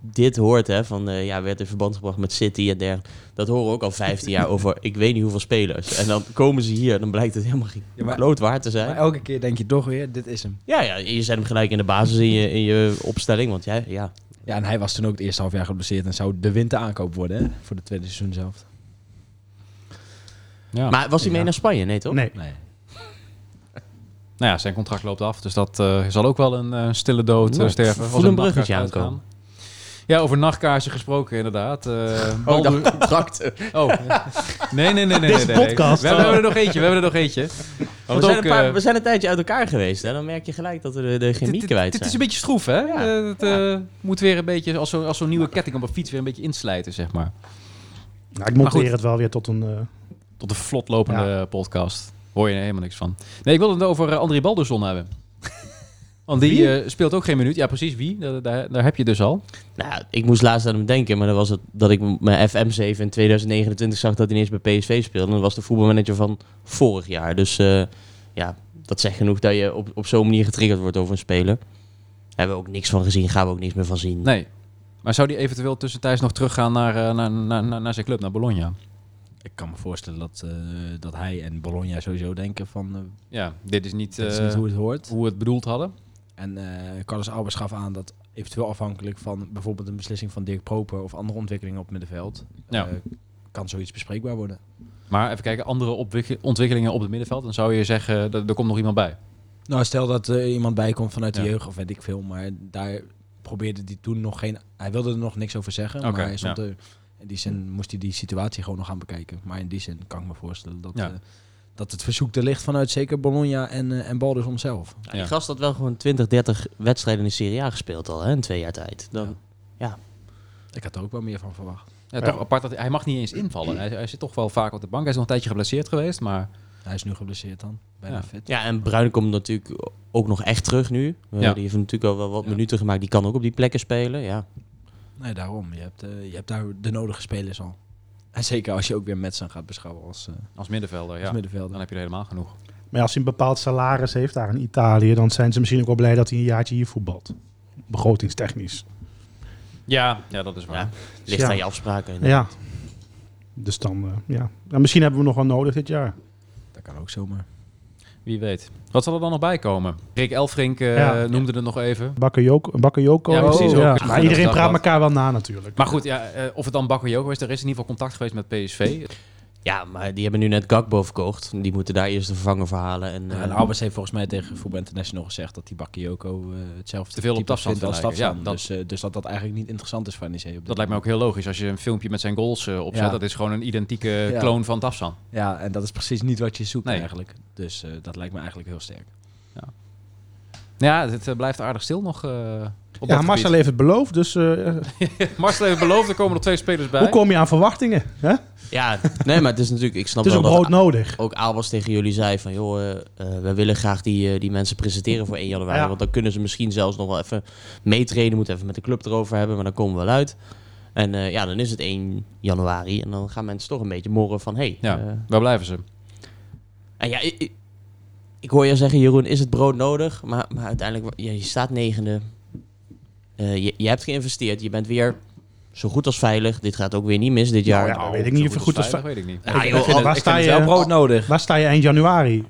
Speaker 5: dit hoort, hè, van eh, ja, werd in verband gebracht met City en dergelijke. Dat horen we ook al 15 jaar over ik weet niet hoeveel spelers. En dan komen ze hier en dan blijkt het helemaal geen
Speaker 3: Ja, maar-
Speaker 5: kloot waard te
Speaker 3: Maar
Speaker 5: zijn.
Speaker 3: elke keer denk je toch weer, dit is hem.
Speaker 5: Ja, ja, je zet hem gelijk in de basis in je, in je opstelling. Want jij, ja,
Speaker 3: Ja, en hij was toen ook het eerste half jaar geblesseerd en zou de winteraankoop worden hè, voor de tweede seizoen zelf.
Speaker 2: Oh, Ja.
Speaker 5: Maar was hij mee
Speaker 3: Ja.
Speaker 5: naar Spanje? Nee, toch?
Speaker 4: Nee.
Speaker 3: Nee.
Speaker 2: Nou ja, zijn contract loopt af, dus dat eh, zal ook wel een eh, stille dood eh,
Speaker 5: Nou,
Speaker 2: sterven.
Speaker 5: voel
Speaker 2: Als
Speaker 5: een bruggetje
Speaker 2: nachtkaars
Speaker 5: aankomen.
Speaker 2: uitgaan. Ja, over nachtkaarsje gesproken inderdaad. Eh,
Speaker 5: Oh, ik
Speaker 2: Baldur- *laughs*
Speaker 5: dacht contract. We
Speaker 2: Oh, nee, nee, nee, nee, nee. nee, nee.
Speaker 4: podcast.
Speaker 2: We, hebben we hebben er nog eentje, we hebben er nog eentje. Want
Speaker 5: zijn,
Speaker 2: ook,
Speaker 5: een paar-
Speaker 2: eh,
Speaker 5: *laughs* we zijn een tijdje uit elkaar geweest. Hè? Dan merk je gelijk dat we de, de
Speaker 2: dit,
Speaker 5: chemie
Speaker 2: dit-
Speaker 5: kwijt
Speaker 2: dit
Speaker 5: zijn.
Speaker 2: is een beetje stroef, hè?
Speaker 5: Ja,
Speaker 2: Eh, het eh, moet weer een beetje, als zo'n als zo'n nieuwe ketting op een fiets, weer een beetje inslijten, zeg maar.
Speaker 4: Nou, ik
Speaker 2: Maar
Speaker 4: monteer
Speaker 2: goed.
Speaker 4: het wel weer tot een... eh,
Speaker 2: Tot een vlot lopende podcast. Hoor je er helemaal niks van. Nee, ik wilde het over eh, André Balderson hebben. Want die eh, speelt ook geen minuut. Ja, precies. Wie? Daar, daar, daar heb je dus al.
Speaker 5: Nou, ik moest laatst aan hem denken, maar dan was het dat ik m- mijn FM7 in 2029 zag dat hij ineens bij PSV speelde. En dat was de voetbalmanager van vorig jaar. Dus eh, ja, dat zegt genoeg dat je op, op zo'n manier getriggerd wordt over een speler. Hebben we ook niks van gezien, gaan we ook niks meer van zien.
Speaker 2: Nee. Maar zou die eventueel tussentijds nog teruggaan naar, eh, naar, naar, naar, naar zijn club, naar Bologna?
Speaker 3: Ik kan me voorstellen dat, eh, dat hij en Bologna sowieso denken van... eh,
Speaker 2: Ja, dit is niet,
Speaker 3: dit is
Speaker 2: eh,
Speaker 3: niet hoe
Speaker 2: hoe...
Speaker 3: het hoort.
Speaker 2: we het bedoeld hadden.
Speaker 3: En eh, Carlos Albers gaf aan dat eventueel afhankelijk van bijvoorbeeld een beslissing van Dirk Proper... of andere ontwikkelingen op het middenveld...
Speaker 2: Ja.
Speaker 3: eh, kan zoiets bespreekbaar worden.
Speaker 2: Maar even kijken, andere opwik- ontwikkelingen op het middenveld. Dan zou je zeggen, dat er komt nog iemand bij.
Speaker 3: Nou, stel dat er iemand bij komt vanuit
Speaker 2: Ja.
Speaker 3: de jeugd of weet ik veel, maar daar probeerde hij toen nog geen. Hij wilde er nog niks over zeggen,
Speaker 2: Oké,
Speaker 3: maar hij stond
Speaker 2: ja.
Speaker 3: er. In die zin moest hij die situatie gewoon nog gaan bekijken. Maar in die zin kan ik me voorstellen dat,
Speaker 2: Ja.
Speaker 3: eh, dat het verzoek er ligt vanuit zeker Bologna en, eh, en Baldersom zelf.
Speaker 5: Nou, die
Speaker 2: Ja.
Speaker 5: gast had wel gewoon 20, 30 wedstrijden in de Serie A gespeeld al, hè, in twee jaar tijd. Dan,
Speaker 3: Ik had er ook wel meer van verwacht.
Speaker 2: Ja,
Speaker 4: Ja.
Speaker 2: Toch apart dat hij mag niet eens
Speaker 4: *clears throat*
Speaker 2: invallen. Hij, hij zit toch wel vaak op de bank. Hij is nog een tijdje geblesseerd geweest, maar
Speaker 3: Hij is nu geblesseerd dan, bijna
Speaker 2: Ja.
Speaker 3: fit.
Speaker 5: Ja, en Bruin komt natuurlijk ook nog echt terug nu. Eh,
Speaker 2: Ja.
Speaker 5: Die heeft natuurlijk al wel wat
Speaker 3: Ja.
Speaker 5: minuten gemaakt. Die kan ook op die plekken spelen. Ja,
Speaker 3: Nee, daarom. Je hebt, eh, je hebt daar de nodige spelers al. En zeker als je ook weer Metsen gaat beschouwen als, eh
Speaker 2: als middenvelder, ja.
Speaker 3: als middenvelder.
Speaker 2: Dan heb je er helemaal genoeg.
Speaker 4: Maar ja, als hij een bepaald salaris heeft daar in Italië, dan zijn ze misschien ook wel blij dat hij een jaartje hier voetbalt. Begrotingstechnisch.
Speaker 2: Ja, ja dat is waar.
Speaker 5: Ja. ligt
Speaker 4: Ja.
Speaker 5: aan je afspraken.
Speaker 4: Ja. Dus dan, eh, ja. En misschien hebben we nog wel nodig dit jaar.
Speaker 3: Dat kan ook zomaar.
Speaker 2: Wie weet. Wat zal er dan nog bij komen? Rick Elfrink eh,
Speaker 4: Ja.
Speaker 2: noemde het nog even.
Speaker 4: Bakayoko. eh, Bakayoko.
Speaker 2: Ja, precies, ook. Ja,
Speaker 4: Maar
Speaker 2: dat
Speaker 4: iedereen
Speaker 2: is dat
Speaker 4: praat
Speaker 2: wat.
Speaker 4: elkaar wel na natuurlijk.
Speaker 2: Maar goed, ja, eh, of het dan Bakayoko is, er is in ieder geval contact geweest met PSV.
Speaker 5: Ja, maar die hebben nu net Gakbo verkocht. Die moeten daar eerst de vervanger verhalen. En,
Speaker 3: Ja, nou,
Speaker 5: eh,
Speaker 3: en Albers heeft volgens mij tegen Voetbal International gezegd dat die Bakayoko eh, hetzelfde
Speaker 2: Te veel op
Speaker 3: type
Speaker 2: Tafsan
Speaker 3: vindt als
Speaker 2: te lijken. Ja,
Speaker 3: Tafsan.
Speaker 2: dat-
Speaker 3: dus, eh, dus dat dat eigenlijk niet interessant is voor NEC. Op dit
Speaker 2: Dat lijkt me ook heel logisch. Als je een filmpje met zijn goals eh, opzet,
Speaker 3: Ja.
Speaker 2: dat is gewoon een identieke
Speaker 3: Ja.
Speaker 2: kloon van Tafsan.
Speaker 3: moment. Ja, en dat is precies niet wat je zoekt
Speaker 2: Nee.
Speaker 3: eigenlijk. Dus eh, dat lijkt me eigenlijk heel sterk.
Speaker 2: Ja, het eh, blijft aardig stil nog. eh op
Speaker 4: Ja,
Speaker 2: dat
Speaker 4: Marcel
Speaker 2: gebied.
Speaker 4: heeft het beloofd, dus eh,
Speaker 2: *laughs* Marcel heeft beloofd, er komen nog twee spelers bij.
Speaker 4: hoe kom je aan verwachtingen? Hè? Het
Speaker 5: Ja, nee, maar het is natuurlijk... Ik snap
Speaker 4: is ook
Speaker 5: wel
Speaker 4: brood
Speaker 5: dat
Speaker 4: nodig.
Speaker 5: ook Albers tegen jullie zei van... joh, eh, eh, we willen graag die, eh, die mensen presenteren voor 1 januari.
Speaker 4: Ja.
Speaker 5: Want dan kunnen ze misschien zelfs nog wel even meetreden. Moeten even met de club erover hebben, maar dan komen we wel uit. En eh, ja, dan is het 1 januari. En dan gaan mensen toch een beetje morren van... Hey,
Speaker 2: Ja,
Speaker 5: eh,
Speaker 2: waar blijven ze?
Speaker 5: En Nou ja, ik, ik- ik hoor je zeggen, Jeroen, is het brood nodig? Maar, maar uiteindelijk, ja, je staat negende. Eh, je, je hebt geïnvesteerd. Je bent weer zo goed als veilig. Dit gaat ook weer niet mis dit jaar.
Speaker 4: Nou, ja, weet ik
Speaker 2: Oh,
Speaker 4: niet of je goed is.
Speaker 2: veilig, weet ik niet.
Speaker 5: Ja,
Speaker 4: Ik-
Speaker 5: joh,
Speaker 4: ik vind
Speaker 5: al-
Speaker 4: het- Waar
Speaker 3: Ik
Speaker 4: sta
Speaker 3: vind
Speaker 4: je-
Speaker 3: het wel brood nodig.
Speaker 4: Waar sta je eind januari?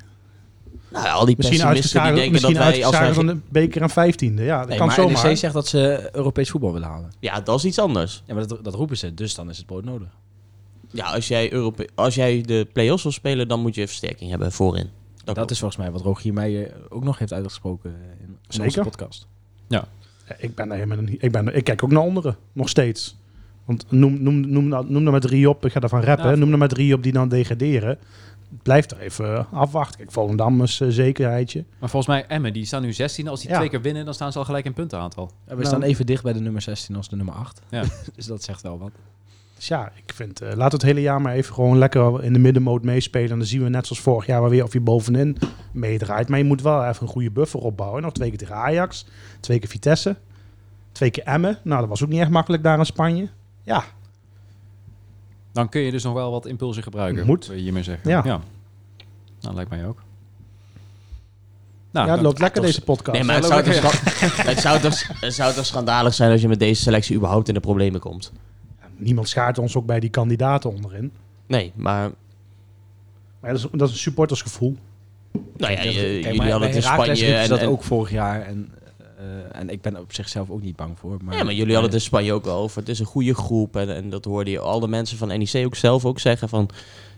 Speaker 5: nou, al die
Speaker 4: Misschien
Speaker 5: pessimisten die
Speaker 4: uitgeschakeld,
Speaker 5: denken dat
Speaker 4: misschien
Speaker 5: wij... Als wij
Speaker 4: uitgeschakeld van de beker en vijftiende. Ja, E dat
Speaker 3: Nee,
Speaker 4: kan
Speaker 3: maar E NEC
Speaker 4: zomaar.
Speaker 3: zegt dat ze Europees voetbal willen halen.
Speaker 5: ja, dat is iets anders.
Speaker 3: Ja, maar dat, dat roepen ze. Dus dan is het brood nodig.
Speaker 5: Ja, als jij, Europe als jij de play-offs wil spelen, dan moet je versterking hebben voorin.
Speaker 3: Dat,
Speaker 5: klopt.
Speaker 3: is volgens mij wat Rogier Meijer ook nog heeft uitgesproken eh, in onze
Speaker 4: Zeker.
Speaker 3: podcast.
Speaker 4: Ja, Ik ben er helemaal niet. Ik, ben, ik kijk ook naar onderen, nog steeds. Want noem, noem, noem, nou- noem er maar drie op, ik ga daarvan rappen.
Speaker 2: Ja.
Speaker 4: Noem er maar drie op die dan degraderen. Blijf er even eh, afwachten. Kijk, Volendam is eh, zekerheidje.
Speaker 2: Maar volgens mij Emmen, die staan nu 16. Als die
Speaker 4: Ja.
Speaker 2: twee keer winnen, dan staan ze al gelijk in puntenaantal.
Speaker 3: Ja, we
Speaker 4: Nou.
Speaker 3: staan even dicht bij de nummer 16 als de nummer 8.
Speaker 2: Ja.
Speaker 3: *laughs* dus dat zegt wel wat.
Speaker 4: Dus ja, ik vind, eh, laat het hele jaar maar even gewoon lekker in de middenmoot meespelen. En dan zien we net zoals vorig jaar maar weer of je bovenin meedraait. Maar je moet wel even een goede buffer opbouwen. Nog twee keer tegen Ajax, twee keer Vitesse, twee keer Emmen. Nou, dat was ook niet echt makkelijk daar in Spanje. Ja,
Speaker 2: Dan kun je dus nog wel wat impulsen gebruiken.
Speaker 4: Moet.
Speaker 2: wil je hiermee zeggen.
Speaker 4: Ja.
Speaker 2: Nou, lijkt mij ook. Nou,
Speaker 4: ja, het
Speaker 2: dan-
Speaker 4: loopt lekker
Speaker 5: toch-
Speaker 4: deze podcast.
Speaker 5: Nee, maar het zou, toch scha- het, zou toch, het zou toch schandalig zijn als je met deze selectie überhaupt in de problemen komt.
Speaker 4: Niemand schaart ons ook bij die kandidaten onderin.
Speaker 5: Nee, maar
Speaker 4: Maar ja, dat, is, dat is een supportersgevoel.
Speaker 5: nou
Speaker 3: Kijk,
Speaker 5: ja, je-
Speaker 3: kijk, maar
Speaker 5: jullie hadden
Speaker 3: bij
Speaker 5: het
Speaker 3: Heracles
Speaker 5: in Spanje.
Speaker 3: riepen ze
Speaker 5: En,
Speaker 3: dat
Speaker 5: en-
Speaker 3: ook vorig jaar. En, eh, en ik ben er op zichzelf ook niet bang voor. Maar,
Speaker 5: Ja, maar jullie hadden het in Spanje ook al over. Het is een goede groep. En, en dat hoorde je al de mensen van NEC ook zelf ook zeggen. Van,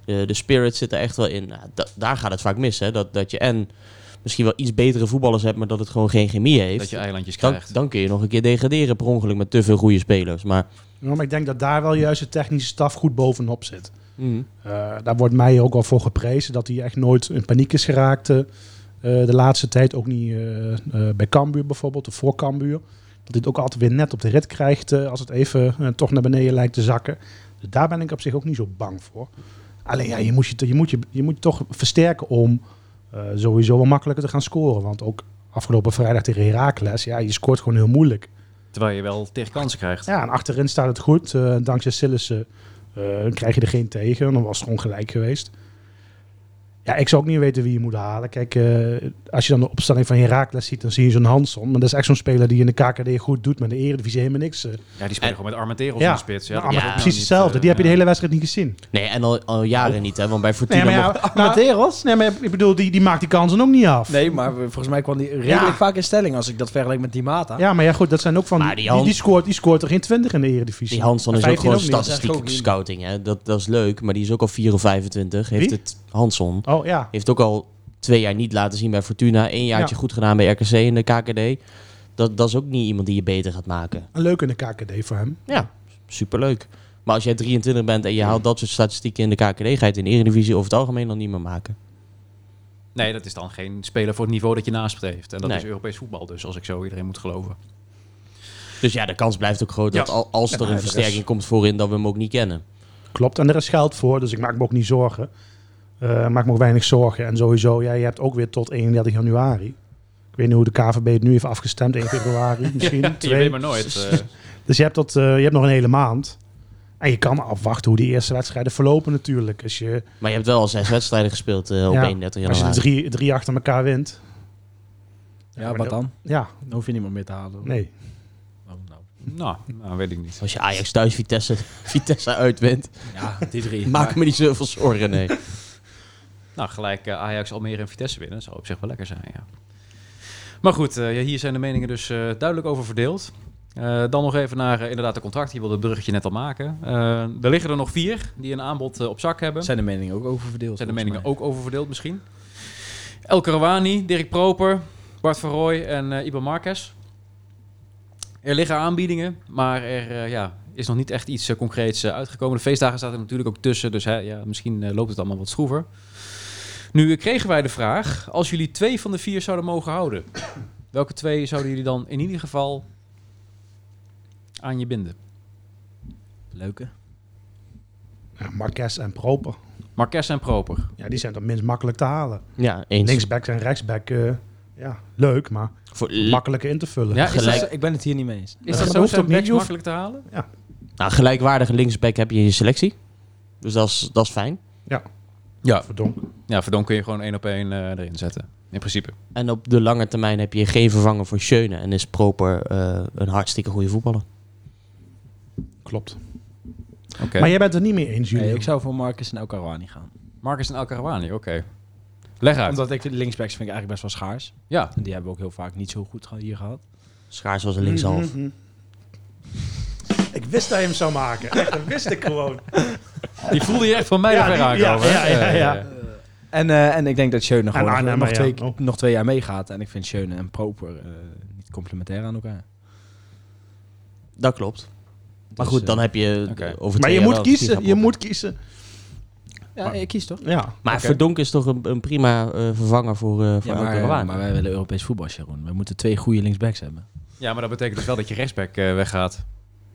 Speaker 5: eh, de spirit zit er echt wel in. Nou, da- daar gaat het vaak mis. Hè? Dat, dat je en misschien wel iets betere voetballers hebt, maar dat het gewoon geen chemie heeft.
Speaker 2: dat je eilandjes
Speaker 5: dan,
Speaker 2: krijgt.
Speaker 5: dan kun je nog een keer degraderen per ongeluk met te veel goede spelers. Maar
Speaker 4: Ja, maar ik denk dat daar wel juist de technische staf goed bovenop zit.
Speaker 5: mm,
Speaker 4: Eh, daar wordt mij ook wel voor geprezen dat hij echt nooit in paniek is geraakt. eh, eh, de laatste tijd ook niet eh, eh, bij Cambuur bijvoorbeeld, of voor Cambuur. Dat hij het ook altijd weer net op de rit krijgt eh, als het even eh, toch naar beneden lijkt te zakken. Dus daar ben ik op zich ook niet zo bang voor. Alleen ja, je moet je, je, moet je, je, moet je toch versterken om eh, sowieso wel makkelijker te gaan scoren. Want ook afgelopen vrijdag tegen Heracles, ja, je scoort gewoon heel moeilijk.
Speaker 2: Terwijl je wel tegen kansen krijgt.
Speaker 4: Ja, en achterin staat het goed. Eh, dankzij Sillissen eh, krijg je er geen tegen. Dan was het gewoon gelijk geweest. Ja, ik zou ook niet weten wie je moet halen. Kijk, eh, als je dan de opstelling van Herakles ziet, dan zie je zo'n Hanson. Maar dat is echt zo'n speler die in de KKD goed doet, maar in de Eredivisie helemaal niks. eh.
Speaker 2: Ja, die spelen
Speaker 5: En-
Speaker 2: gewoon met Armenteros
Speaker 4: Ja.
Speaker 2: in de spits. Ja,
Speaker 4: Nou,
Speaker 2: dat
Speaker 4: maar
Speaker 2: is
Speaker 5: ja,
Speaker 2: ook
Speaker 4: precies
Speaker 2: niet,
Speaker 4: hetzelfde.
Speaker 2: eh,
Speaker 4: Die heb je de
Speaker 2: ja.
Speaker 4: hele wedstrijd niet gezien.
Speaker 5: nee, en al, al jaren niet. Hè? Want bij Fortuna... mocht-
Speaker 4: Amateros? Nee, maar ik bedoel, die, die maakt die kansen ook niet af.
Speaker 3: Nee, maar we- volgens mij kwam die redelijk
Speaker 4: Ja.
Speaker 3: vaak in stelling als ik dat vergelijk met die Mata.
Speaker 4: Ja, maar ja, goed, dat zijn ook van...
Speaker 5: Maar
Speaker 4: Die,
Speaker 5: die
Speaker 4: die,
Speaker 5: Hans-
Speaker 4: scoort, die scoort er geen 20 in de Eredivisie.
Speaker 5: Die Hanson is ook
Speaker 4: 15
Speaker 5: gewoon
Speaker 4: ook niet.
Speaker 5: statistiek
Speaker 3: Dat is ook
Speaker 5: scouting. Hè? Dat, dat is leuk, maar die is ook al 4 of 25. Heeft
Speaker 4: Wie?
Speaker 5: het Hanson.
Speaker 4: Oh ja,
Speaker 5: Heeft ook al twee jaar niet laten zien bij Fortuna. Eén jaartje
Speaker 4: Ja.
Speaker 5: goed gedaan bij RKC in de KKD. Dat, dat is ook niet iemand die je beter gaat maken.
Speaker 4: een leuk in de KKD voor hem.
Speaker 5: Ja, superleuk. Maar als jij 23 bent en je haalt dat soort statistieken in de KKD... ga je het in de Eredivisie over het algemeen dan niet meer maken.
Speaker 2: Nee, dat is dan geen speler voor het niveau dat je nastreeft. En dat
Speaker 5: Nee.
Speaker 2: is Europees voetbal dus, als ik zo iedereen moet geloven.
Speaker 5: Dus ja, de kans blijft ook groot dat
Speaker 2: Ja.
Speaker 5: al, als er een
Speaker 4: de
Speaker 5: versterking
Speaker 4: rest-
Speaker 5: komt voorin... dat we hem ook niet kennen.
Speaker 4: Klopt, en er is geld voor, dus ik maak me ook niet zorgen. Eh, maak me ook weinig zorgen. En sowieso, ja, je hebt ook weer tot 31 januari. Ik weet niet hoe de KVB het nu heeft afgestemd, 1
Speaker 2: *laughs*
Speaker 4: februari misschien.
Speaker 2: Je
Speaker 4: twee.
Speaker 2: weet maar
Speaker 4: *laughs*
Speaker 2: nooit. eh,
Speaker 4: Dus je hebt, dat, eh, je hebt nog een hele maand. En je kan afwachten hoe die eerste wedstrijden verlopen natuurlijk. Als je,
Speaker 5: Maar je hebt wel al zes wedstrijden gespeeld eh, op
Speaker 4: Ja,
Speaker 5: 31
Speaker 4: als je
Speaker 5: januari.
Speaker 4: er drie, drie achter elkaar wint.
Speaker 3: Ja, wat dan?
Speaker 4: Ja,
Speaker 3: Dan hoef je niemand meer te halen.
Speaker 4: nee.
Speaker 3: Oh, nou.
Speaker 2: nou, nou, weet ik niet.
Speaker 5: Als je Ajax thuis Vitesse, *laughs* Vitesse uitwint...
Speaker 3: Ja, die
Speaker 5: *laughs*
Speaker 3: drie.
Speaker 5: maak me niet zoveel zorgen, nee.
Speaker 2: Nou, gelijk eh, Ajax, Almere en Vitesse winnen. Dat zou op zich wel lekker zijn, ja. Maar goed, eh, ja, hier zijn de meningen dus eh, duidelijk over verdeeld. Eh, dan nog even naar eh, inderdaad de contract. Die wilde het bruggetje net al maken. Eh, er liggen er nog vier die een aanbod eh, op zak hebben.
Speaker 3: Zijn de meningen ook over verdeeld?
Speaker 2: Zijn de
Speaker 3: volgens
Speaker 2: meningen
Speaker 3: mij.
Speaker 2: ook over verdeeld misschien? El Karawani, Dirk Proper, Bart van Rooij en eh Iban Marquez. Er liggen aanbiedingen, maar er eh, ja, is nog niet echt iets eh, concreets eh, uitgekomen. De feestdagen zaten er natuurlijk ook tussen, dus hè, ja, misschien eh, loopt het allemaal wat schroever. Nu eh, kregen wij de vraag, als jullie twee van de vier zouden mogen houden, *coughs* welke twee zouden jullie dan in ieder geval aan je binden?
Speaker 3: Leuke.
Speaker 4: Ja, Marquez en Proper.
Speaker 2: Marquez en Proper.
Speaker 4: Ja, die zijn dan minst makkelijk te halen.
Speaker 5: Ja, eens.
Speaker 4: Linksback en rechtsback, eh, ja, leuk, maar
Speaker 5: Voor,
Speaker 4: makkelijker in te vullen.
Speaker 2: Ja, is
Speaker 5: Gelijk.
Speaker 2: dat,
Speaker 3: Ik ben het hier niet mee eens.
Speaker 2: is
Speaker 4: Maar
Speaker 2: dat
Speaker 4: dat
Speaker 2: zo
Speaker 4: hoeft
Speaker 2: zijn
Speaker 4: ook niet,
Speaker 2: backs
Speaker 4: je hoeft-
Speaker 2: makkelijk te halen?
Speaker 5: nou, gelijkwaardige linksback heb je in je selectie. Dus dat is, dat is fijn.
Speaker 2: Ja,
Speaker 4: Verdonk.
Speaker 2: Ja, Verdon kun je gewoon één op één eh, erin zetten. In principe.
Speaker 5: En op de lange termijn heb je geen vervanger voor Schöne. En is Proper eh, een hartstikke goede voetballer.
Speaker 4: Klopt.
Speaker 2: Oké.
Speaker 4: Maar jij bent het niet mee eens, Jullie.
Speaker 3: Nee, ik zou voor Marcus en El Karouani gaan.
Speaker 2: Marcus en El Karawani, oké. Leg uit.
Speaker 3: Omdat ik vind- linksbacks vind ik eigenlijk best wel schaars.
Speaker 2: Ja,
Speaker 3: En die hebben we ook heel vaak niet zo goed ge- hier gehad.
Speaker 5: Schaars was een linkshalf.
Speaker 4: Mhm. Ik wist dat je hem zou maken. Echt, dat wist ik gewoon.
Speaker 2: die voelde je echt van mij
Speaker 4: *laughs* Ja,
Speaker 2: er ver
Speaker 4: die-
Speaker 2: aankomen.
Speaker 4: ja,
Speaker 2: hè? Eh,
Speaker 4: ja, ja, ja.
Speaker 3: En, eh, en ik denk dat Schöne gewoon nog-
Speaker 4: Arnhem,
Speaker 3: nog,
Speaker 4: ja.
Speaker 3: twee,
Speaker 4: Oh.
Speaker 3: nog twee jaar meegaat. En ik vind Schöne en Proper eh, niet complementair aan elkaar.
Speaker 5: Dat klopt. Maar
Speaker 3: Dus,
Speaker 5: goed,
Speaker 3: eh,
Speaker 5: dan heb je eh,
Speaker 2: oké.
Speaker 5: over
Speaker 4: Maar
Speaker 5: twee
Speaker 4: je
Speaker 5: jaar
Speaker 4: moet
Speaker 5: wel een
Speaker 4: kiezen. Je
Speaker 5: gigapotten.
Speaker 4: moet kiezen.
Speaker 3: Ja, ik kies toch?
Speaker 4: Ja.
Speaker 5: Maar Verdonk is toch een, een prima eh, vervanger voor, eh voor
Speaker 3: Ja,
Speaker 5: El
Speaker 3: maar,
Speaker 5: Karawani.
Speaker 3: maar wij willen Europees voetbal, Sharon. We moeten twee goede linksbacks hebben.
Speaker 2: Ja, maar dat betekent dus wel dat je rechtsback eh, weggaat.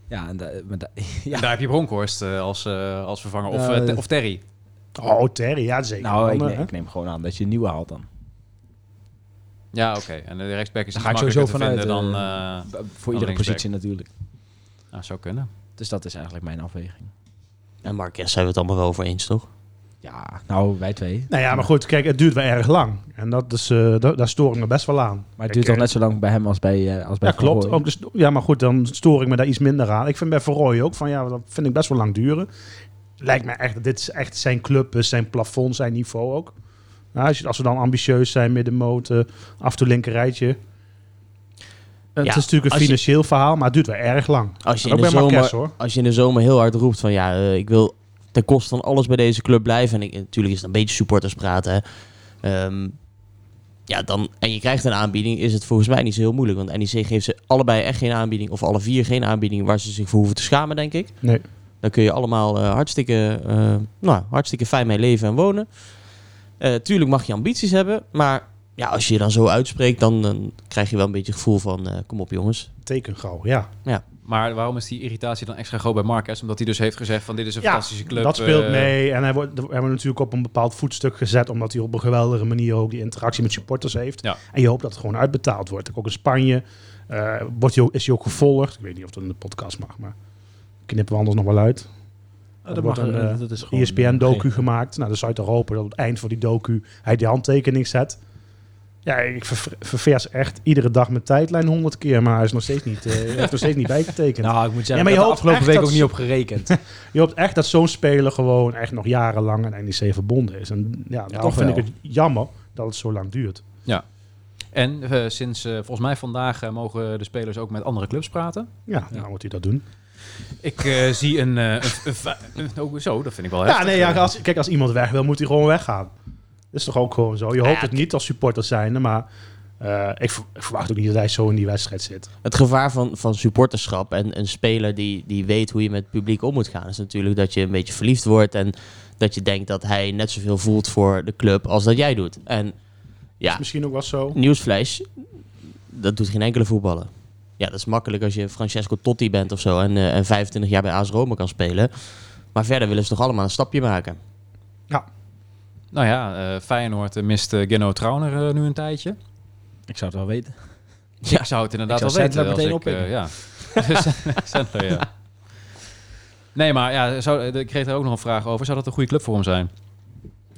Speaker 3: Ja, en da- maar da- ja.
Speaker 2: En daar heb je Bronkhorst eh, als, eh, als vervanger. Of,
Speaker 3: Nou,
Speaker 2: eh, Te-
Speaker 3: dat-
Speaker 2: of Terry.
Speaker 4: Oh, Terry, ja zeker.
Speaker 3: nou,
Speaker 4: Dan,
Speaker 3: ik,
Speaker 4: eh,
Speaker 3: neem- ik neem gewoon aan dat je een nieuwe haalt dan.
Speaker 2: Ja, oké. En de rechtsback is
Speaker 3: Daar
Speaker 2: iets
Speaker 3: ga ik
Speaker 2: makkelijker te
Speaker 3: sowieso
Speaker 2: vinden dan...
Speaker 3: vanuit,
Speaker 2: eh
Speaker 3: B- Voor
Speaker 2: Dan
Speaker 3: iedere
Speaker 2: linksback.
Speaker 3: positie natuurlijk.
Speaker 2: nou, zou kunnen.
Speaker 3: Dus dat is eigenlijk mijn afweging.
Speaker 5: En Marquez zijn we het allemaal wel over eens, toch?
Speaker 3: Ja, nou, wij twee.
Speaker 4: Nou ja, maar goed, kijk, het duurt wel erg lang. En dat is, eh, da- daar stoor ik me best wel
Speaker 3: Maar
Speaker 4: aan.
Speaker 3: het
Speaker 4: Kijk,
Speaker 3: duurt toch
Speaker 4: eh,
Speaker 3: net zo lang bij hem als bij, eh, als bij
Speaker 4: Ja,
Speaker 3: Van
Speaker 4: klopt.
Speaker 3: Rooij?
Speaker 4: Ook de sto- ja, maar goed, dan stoor ik me daar iets minder aan. Ik vind bij Verrooy ook van ja, dat vind ik best wel lang duren. Lijkt me echt, dit is echt zijn club, eh, zijn plafond, zijn niveau ook. Nou, als, je, als we dan ambitieus zijn, middenmoot, eh, af en toe linker rijtje. Eh,
Speaker 5: Ja,
Speaker 4: het is natuurlijk een
Speaker 5: als je-
Speaker 4: financieel verhaal, maar het duurt wel erg lang.
Speaker 5: Als je,
Speaker 4: Ook
Speaker 5: in de
Speaker 4: bij
Speaker 5: zomer,
Speaker 4: Marquez hoor.
Speaker 5: als je in de zomer heel hard roept van ja, eh, ik wil ten koste van alles bij deze club blijven. En ik, natuurlijk is het een beetje supporters praten. hè. Ehm, ja, dan, en je krijgt een aanbieding, is het volgens mij niet zo heel moeilijk. Want NEC geeft ze allebei echt geen aanbieding. Of alle vier geen aanbieding waar ze zich voor hoeven te schamen, denk ik.
Speaker 4: Nee.
Speaker 5: Daar kun je allemaal eh, hartstikke, eh, nou, hartstikke fijn mee leven en wonen. Eh, tuurlijk mag je ambities hebben, maar ja, als je je dan zo uitspreekt, dan, dan krijg je wel een beetje het gevoel van, eh, kom op jongens.
Speaker 4: Teken gauw, ja.
Speaker 2: Maar waarom is die irritatie dan extra groot bij Marquez? Omdat hij dus heeft gezegd van dit is een fantastische club.
Speaker 4: Dat speelt
Speaker 2: eh,
Speaker 4: mee. En hij wordt, we hebben natuurlijk op een bepaald voetstuk gezet. Omdat hij op een geweldige manier ook die interactie met supporters heeft.
Speaker 2: Ja.
Speaker 4: En je hoopt dat het gewoon uitbetaald wordt. Ook in Spanje eh, wordt hij ook, is hij ook gevolgd. Ik weet niet of dat in de podcast mag, maar knippen we anders nog wel uit.
Speaker 3: Ah,
Speaker 4: Er
Speaker 3: dat
Speaker 4: wordt
Speaker 3: mag,
Speaker 4: een,
Speaker 3: eh,
Speaker 4: eh,
Speaker 3: dat is gewoon, eh,
Speaker 4: ESPN-docu
Speaker 3: geen-
Speaker 4: gemaakt. Nou, dus zou je toch hopen dat op het eind van die docu hij die handtekening zet. Ja, ik ver- ververs echt iedere dag mijn tijdlijn honderd keer. Maar hij is nog steeds niet, eh, hij heeft nog steeds niet bijgetekend.
Speaker 3: Nou, ik moet zeggen,
Speaker 4: Ja,
Speaker 3: ja,
Speaker 4: maar
Speaker 3: maar
Speaker 4: je
Speaker 3: ik had
Speaker 4: hoopt
Speaker 3: de afgelopen
Speaker 4: echt
Speaker 3: week
Speaker 4: dat
Speaker 3: ook
Speaker 4: ze-
Speaker 3: niet op
Speaker 4: *laughs*
Speaker 3: gerekend.
Speaker 4: Je hoopt echt dat zo'n speler gewoon echt nog jarenlang aan NEC verbonden is. En ja, daarom
Speaker 3: toch
Speaker 4: vind
Speaker 3: wel.
Speaker 4: ik het jammer dat het zo lang duurt.
Speaker 2: En eh, sinds eh, volgens mij vandaag eh, mogen de spelers ook met andere clubs praten.
Speaker 4: Ja, nou moet hij dat doen.
Speaker 2: Ik eh, zie een, eh, een- een fa- een- oh, zo, dat vind ik wel
Speaker 4: ja,
Speaker 2: heftig.
Speaker 4: nee, ja, als, kijk, als iemand weg wil, moet hij gewoon weggaan. Dat is toch ook gewoon zo. Je hoopt het niet als supporter zijnde, maar eh, ik, ver- ik verwacht ook niet dat hij zo in die wedstrijd zit.
Speaker 5: Het gevaar van, van supporterschap en een speler die, die weet hoe je met het publiek om moet gaan, is natuurlijk dat je een beetje verliefd wordt en dat je denkt dat hij net zoveel voelt voor de club als dat jij doet. En ja,
Speaker 4: Misschien ook wel zo.
Speaker 5: nieuwsflash, dat doet geen enkele voetballer. Ja, dat is makkelijk als je Francesco Totti bent of zo en, eh, en 25 jaar bij AS Roma kan spelen. Maar verder willen ze toch allemaal een stapje maken.
Speaker 2: Nou ja, eh, Feyenoord eh, mist eh, Geno Trauner eh, nu een tijdje.
Speaker 3: ik zou het wel weten.
Speaker 2: Ik zou het inderdaad
Speaker 3: Ik
Speaker 2: wel
Speaker 3: zou
Speaker 2: weten.
Speaker 3: Sandler meteen
Speaker 2: als ik, eh, ja. *laughs* Sandler, ja. Nee, maar ja, zou, eh, ik kreeg daar ook nog een vraag over. Zou dat een goede club voor hem zijn?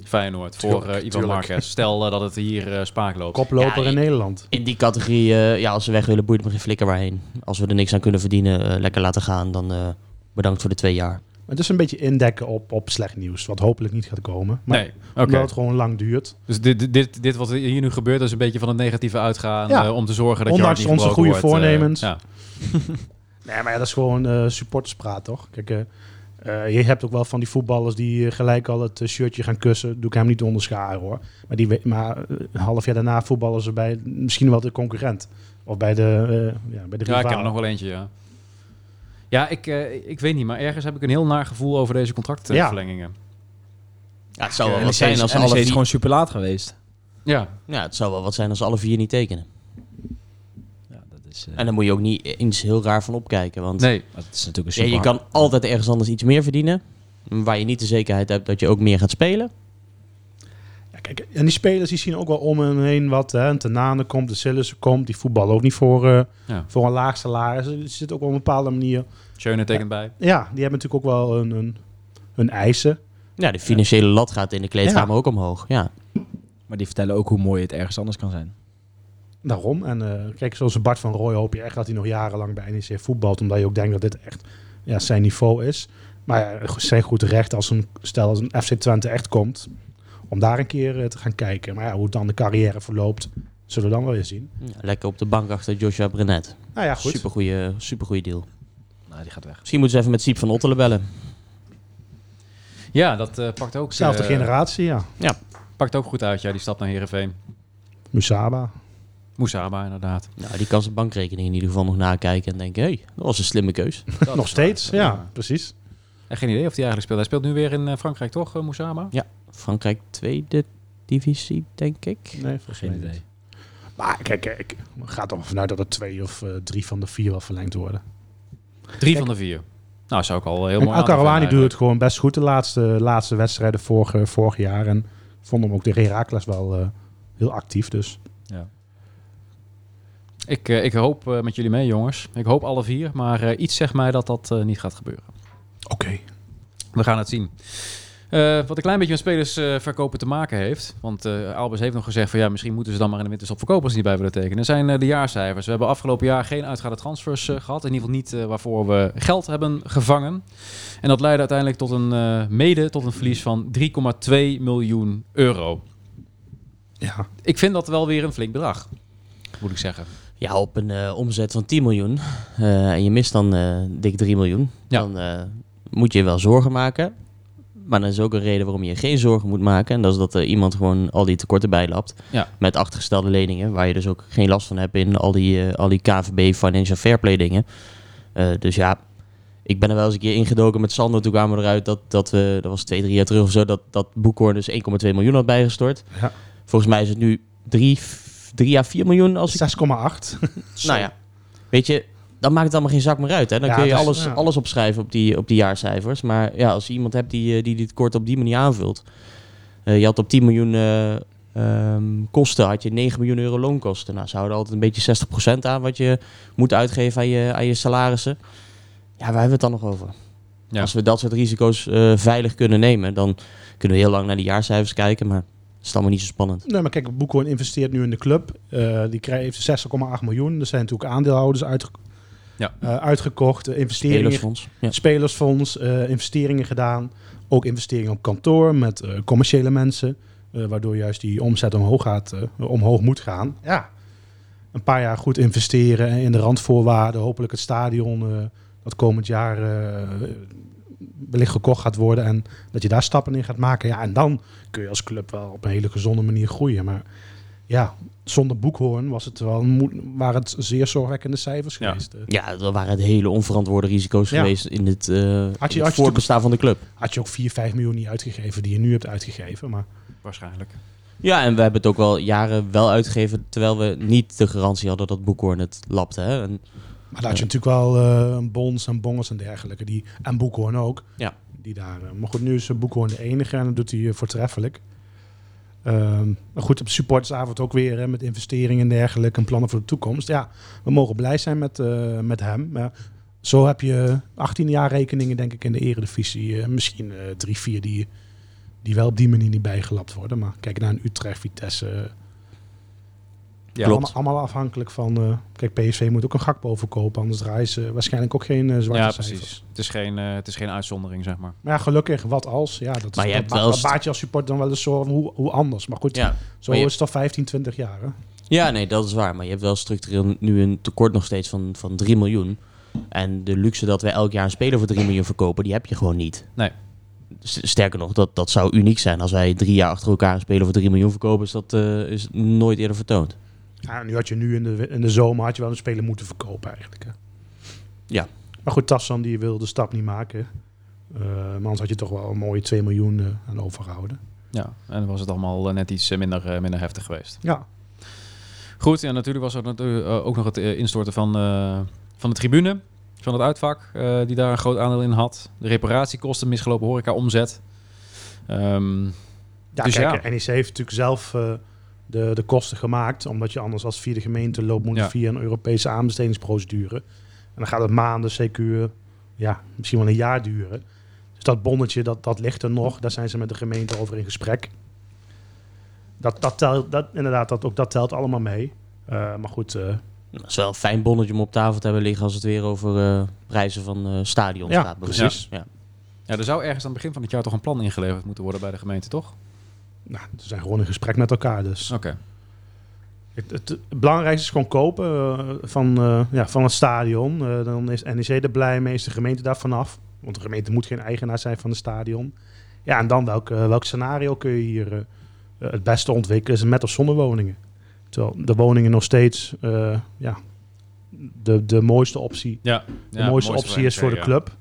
Speaker 2: Feyenoord, voor
Speaker 4: Tuurlijk,
Speaker 2: eh, Ivan
Speaker 4: tuurlijk.
Speaker 2: Marquez. Stel eh, dat het hier eh, spaak loopt.
Speaker 4: Koploper
Speaker 5: Ja,
Speaker 4: in
Speaker 5: ik-
Speaker 4: Nederland.
Speaker 5: In die categorie, eh, ja, als ze weg willen, boeit het me geen flikker waarheen. Als we er niks aan kunnen verdienen, eh, lekker laten gaan, dan eh, bedankt voor de twee jaar.
Speaker 4: Maar het is een beetje indekken op, op slecht nieuws, wat hopelijk niet gaat komen. Maar
Speaker 2: nee, oké.
Speaker 4: omdat het gewoon lang duurt.
Speaker 2: Dus dit, dit- dit, dit wat hier nu gebeurt, dat is een beetje van het negatieve uitgaan.
Speaker 4: Ja.
Speaker 2: eh, om te zorgen dat je
Speaker 4: Ondanks
Speaker 2: hart niet
Speaker 4: onze
Speaker 2: gebroken
Speaker 4: goede
Speaker 2: wordt, eh,
Speaker 4: voornemens.
Speaker 2: ja.
Speaker 4: Nee, maar ja, dat is gewoon eh supporterspraat, toch? Kijk, eh, eh, je hebt ook wel van die voetballers die eh, gelijk al het eh, shirtje gaan kussen. Doe ik hem niet onderscharen, hoor. Maar, die, we- maar eh, een half jaar daarna voetballen ze bij misschien wel de concurrent. Of bij de, eh ja, bij de
Speaker 2: Ja, ik
Speaker 4: rivaal.
Speaker 2: ken er nog wel eentje, ja. Ja, ik, eh, ik weet niet, maar ergens heb ik een heel naar gevoel over deze contractverlengingen.
Speaker 5: Ja, het zou wel
Speaker 3: NEC
Speaker 5: wat zijn
Speaker 3: is-
Speaker 5: als
Speaker 3: NEC
Speaker 5: alle
Speaker 3: is
Speaker 5: vier...
Speaker 3: gewoon super laat geweest.
Speaker 2: Ja.
Speaker 5: Ja, het zou wel wat zijn als ze alle vier niet tekenen.
Speaker 3: Ja, dat is, eh,
Speaker 5: En daar moet je ook niet eens heel raar van opkijken. Want
Speaker 2: Nee.
Speaker 3: maar het is natuurlijk
Speaker 5: ja,
Speaker 3: een
Speaker 5: je
Speaker 3: super...
Speaker 5: kan altijd ergens anders iets meer verdienen. Waar je niet de zekerheid hebt dat je ook meer gaat spelen.
Speaker 4: Ja, kijk, en die spelers die zien ook wel om hen heen wat. Hè. Een Tenane komt, de Sillissen komt. Die voetballen ook niet voor, eh,
Speaker 2: Ja.
Speaker 4: voor een laag salaris. Dus Er zit ook wel een bepaalde manier.
Speaker 2: Schöne tekent bij.
Speaker 4: Ja, die hebben natuurlijk ook wel een, een, hun eisen.
Speaker 5: Ja, de financiële lat gaat in de kleedkamer ook omhoog. Ja.
Speaker 3: Maar die vertellen ook hoe mooi het ergens anders kan zijn.
Speaker 4: Daarom. En eh, kijk, zoals Bart van Rooij hoop je echt dat hij nog jarenlang bij NEC voetbalt. Omdat je ook denkt dat dit echt ja, zijn niveau is. Maar ja, zijn goed recht als een, stel als een FC Twente echt komt. Om daar een keer eh, te gaan kijken. Maar ja, hoe dan de carrière verloopt, zullen we dan wel weer zien.
Speaker 5: Ja, Lekker op de bank achter Joshua Brenet.
Speaker 4: Nou ja, goed.
Speaker 5: Supergoeie, supergoeie deal.
Speaker 3: Nou, die gaat weg.
Speaker 5: Misschien moeten ze even met Siep van Ottelen bellen.
Speaker 2: Ja, dat eh, pakt, ook,
Speaker 4: Zelfde
Speaker 2: eh,
Speaker 4: generatie, ja.
Speaker 2: pakt ook goed uit, ja, die stap naar Herenveen.
Speaker 4: Musaba.
Speaker 2: Moesaba, inderdaad.
Speaker 5: Nou, die kan zijn bankrekening in ieder geval nog nakijken en denken... hé, hey, dat was een slimme
Speaker 2: *laughs*
Speaker 5: keus.
Speaker 2: Dat
Speaker 4: *laughs* Nog
Speaker 2: is waar,
Speaker 4: steeds,
Speaker 2: dat is
Speaker 4: ja,
Speaker 2: waar.
Speaker 4: precies.
Speaker 2: En geen idee of hij eigenlijk speelt. Hij speelt nu weer in eh, Frankrijk, toch, eh, Moesaba?
Speaker 5: Frankrijk tweede divisie, denk ik.
Speaker 4: Nee, volgens
Speaker 3: Geen
Speaker 4: mij
Speaker 3: idee.
Speaker 4: niet. Maar kijk, kijk, gaat er vanuit dat er twee of eh, drie van de vier wel verlengd worden.
Speaker 2: Drie van de vier. Nou, zou ik al heel
Speaker 4: En
Speaker 2: mooi aantal
Speaker 4: Al-Karawani
Speaker 2: vinden
Speaker 4: doet het gewoon best goed de laatste, laatste wedstrijden vorig, eh, vorig jaar. En vond hem ook de Herakles wel eh, heel actief. Dus
Speaker 2: eigenlijk. Ik, eh, ik hoop eh, met jullie mee, jongens. Ik hoop alle vier, maar eh, iets zegt mij dat dat eh, niet gaat gebeuren.
Speaker 4: oké.
Speaker 2: We gaan het zien. Eh, wat een klein beetje met spelers eh, verkopen te maken heeft. Want eh Albers heeft nog gezegd van ja, misschien moeten ze dan maar in de winterstop verkopers niet bij willen tekenen. zijn eh, de jaarcijfers. We hebben afgelopen jaar geen uitgaande transfers eh, gehad. In ieder geval niet eh, waarvoor we geld hebben gevangen. En dat leidde uiteindelijk tot een eh, mede tot een verlies van 3,2 miljoen euro.
Speaker 4: Ja.
Speaker 2: Ik vind dat wel weer een flink bedrag. Moet ik zeggen.
Speaker 5: Ja, op een eh, omzet van 10 miljoen eh, en je mist dan eh, dik 3 miljoen,
Speaker 2: Ja.
Speaker 5: dan eh, moet je je wel zorgen maken. Maar er is ook een reden waarom je je geen zorgen moet maken. En dat is dat er iemand gewoon al die tekorten bijlapt.
Speaker 2: Ja.
Speaker 5: Met achtergestelde leningen, waar je dus ook geen last van hebt in al die, eh, al die KVB Financial Fairplay dingen. Eh, dus ja, ik ben er wel eens een keer ingedoken met Sander. Toen kwamen we eruit dat, dat we, dat was twee, drie jaar terug of zo, dat, dat Boekhoorn dus 1,2 miljoen had bijgestort.
Speaker 4: Ja.
Speaker 5: Volgens mij is het nu 3, 3 à 4 miljoen als Dus ik
Speaker 4: 6,8.
Speaker 5: nou ja, weet je, dan maakt het allemaal geen zak meer uit. Hè? Dan
Speaker 4: Ja,
Speaker 5: kun je
Speaker 4: dat is-
Speaker 5: alles,
Speaker 4: ja.
Speaker 5: alles opschrijven op die, op die jaarcijfers. Maar ja, als je iemand hebt die, eh, die dit kort op die manier aanvult. eh, je had op 10 miljoen eh, ehm, kosten, had je 9 miljoen euro loonkosten. Nou, ze houden altijd een beetje 60% aan wat je moet uitgeven aan je, aan je salarissen. Ja, waar hebben we het dan nog over?
Speaker 2: Ja.
Speaker 5: Als we dat soort risico's eh, veilig kunnen nemen, dan kunnen we heel lang naar die jaarcijfers kijken. Maar het is allemaal niet zo spannend.
Speaker 4: nee, maar kijk, Boekhoorn investeert nu in de club. Eh, die krijgt 6,8 miljoen. Er zijn natuurlijk aandeelhouders uitge-
Speaker 2: Ja.
Speaker 4: eh, uitgekocht. eh, investeringen,
Speaker 5: Spelersfonds. Ja.
Speaker 4: spelersfonds, eh, investeringen gedaan. Ook investeringen op kantoor met eh, commerciële mensen. eh, waardoor juist die omzet omhoog, gaat, eh, omhoog moet gaan. Ja, een paar jaar goed investeren en in de randvoorwaarden. Hopelijk het stadion eh, dat komend jaar eh, wellicht gekocht gaat worden. En dat je daar stappen in gaat maken. Ja, en dan kun je als club wel op een hele gezonde manier groeien. Maar ja, zonder boekhoorn was het wel, een moe- waren het zeer zorgwekkende cijfers
Speaker 2: Ja.
Speaker 4: geweest. Eh,
Speaker 5: Ja, dat waren het hele onverantwoorde risico's
Speaker 4: Ja.
Speaker 5: geweest in het, eh, in
Speaker 4: had
Speaker 5: het
Speaker 4: je-
Speaker 5: voorbestaan van de club.
Speaker 4: had je ook 4, 5 miljoen niet uitgegeven die je nu hebt uitgegeven. Maar
Speaker 2: Waarschijnlijk.
Speaker 5: Ja, en we hebben het ook wel jaren wel uitgegeven, terwijl we niet de garantie hadden dat Boekhoorn het lapte. Hè? En,
Speaker 4: Maar daar had je natuurlijk wel eh, bons en bongers en dergelijke. Die, en Boekhoorn ook.
Speaker 5: Ja.
Speaker 4: Die daar, eh, maar goed, nu is eh, Boekhoorn de enige en dat doet hij eh, voortreffelijk. Ehm, maar goed, op supportersavond ook weer hè, met investeringen en dergelijke en plannen voor de toekomst. Ja, we mogen blij zijn met, eh, met hem. Maar zo heb je 18 jaar rekeningen, denk ik, in de eredivisie. eh, misschien eh, drie, vier die, die wel op die manier niet bijgelapt worden. Maar kijk naar een Utrecht, Vitesse. eh,
Speaker 2: Ja.
Speaker 5: Klopt.
Speaker 4: allemaal, allemaal afhankelijk van... eh, kijk, PSV moet ook een Gakpo verkopen. Anders draaien ze waarschijnlijk ook geen eh, zwarte
Speaker 2: Ja,
Speaker 4: cijfers.
Speaker 2: precies. Het is, geen, eh, het is geen uitzondering, zeg maar.
Speaker 4: Maar ja, gelukkig, wat als? Ja, dat,
Speaker 5: Maar je
Speaker 4: dat
Speaker 5: hebt
Speaker 4: ba-
Speaker 5: wel
Speaker 4: dat
Speaker 5: st-
Speaker 4: baat je als support dan wel eens zo van hoe, hoe anders. Maar goed,
Speaker 5: ja.
Speaker 4: zo
Speaker 5: maar je-
Speaker 4: is het al 15, 20 jaar. Hè?
Speaker 5: ja, nee, dat is waar. Maar je hebt wel structureel nu een tekort nog steeds van, van 3 miljoen. En de luxe dat we elk jaar een speler voor 3 miljoen verkopen, die heb je gewoon niet.
Speaker 2: Nee.
Speaker 5: S- Sterker nog, dat, dat zou uniek zijn als wij drie jaar achter elkaar een speler voor 3 miljoen verkopen. Is dat eh, is nooit eerder vertoond.
Speaker 4: Ja, nu had je nu in de, in de zomer had je wel een speler moeten verkopen eigenlijk. Hè.
Speaker 5: Ja.
Speaker 4: Maar goed, Tassan die wil de stap niet maken. Eh maar anders had je toch wel een mooie 2 miljoen eh, aan overgehouden.
Speaker 2: Ja, en dan was het allemaal eh, net iets eh, minder, eh, minder heftig geweest.
Speaker 4: Ja,
Speaker 2: Goed, ja, natuurlijk was er natuurlijk eh, ook nog het eh, instorten van, eh, van de tribune, van het uitvak, eh, die daar een groot aandeel in had. De reparatiekosten, misgelopen horeca-omzet. Ehm,
Speaker 4: ja
Speaker 2: Dus
Speaker 4: kijk,
Speaker 2: ja.
Speaker 4: NEC heeft natuurlijk zelf eh, de, de kosten gemaakt. Omdat je anders als via de gemeente loopt, moet je
Speaker 2: Ja.
Speaker 4: via een Europese aanbestedingsprocedure. En dan gaat het maanden, CQ, ja, misschien wel een jaar duren. Dus dat bonnetje, dat, dat ligt er nog. Daar zijn ze met de gemeente over in gesprek. Dat, dat telt, dat, inderdaad, dat, ook dat telt allemaal mee. Eh, maar goed, eh,
Speaker 5: Dat is wel een fijn bonnetje om op tafel te hebben liggen als het weer over eh, prijzen van eh stadions
Speaker 4: Ja,
Speaker 5: gaat.
Speaker 4: precies.
Speaker 5: Ja.
Speaker 2: ja, er zou ergens aan het begin van het jaar toch een plan ingeleverd moeten worden bij de gemeente, toch? Oké.
Speaker 4: nou, ze zijn gewoon in gesprek met elkaar. Dus Het, het, het belangrijkste is gewoon kopen eh, van, eh, ja, van het stadion. Eh, dan is NEC er blij mee, is de gemeente daar vanaf. Want de gemeente moet geen eigenaar zijn van het stadion. Ja, en dan welk, eh, welk scenario kun je hier eh, eh, het beste ontwikkelen? Is het met of zonder woningen? Terwijl de woningen nog steeds eh, ja, de, de mooiste optie,
Speaker 2: Ja,
Speaker 4: de mooiste, optie is voor de club.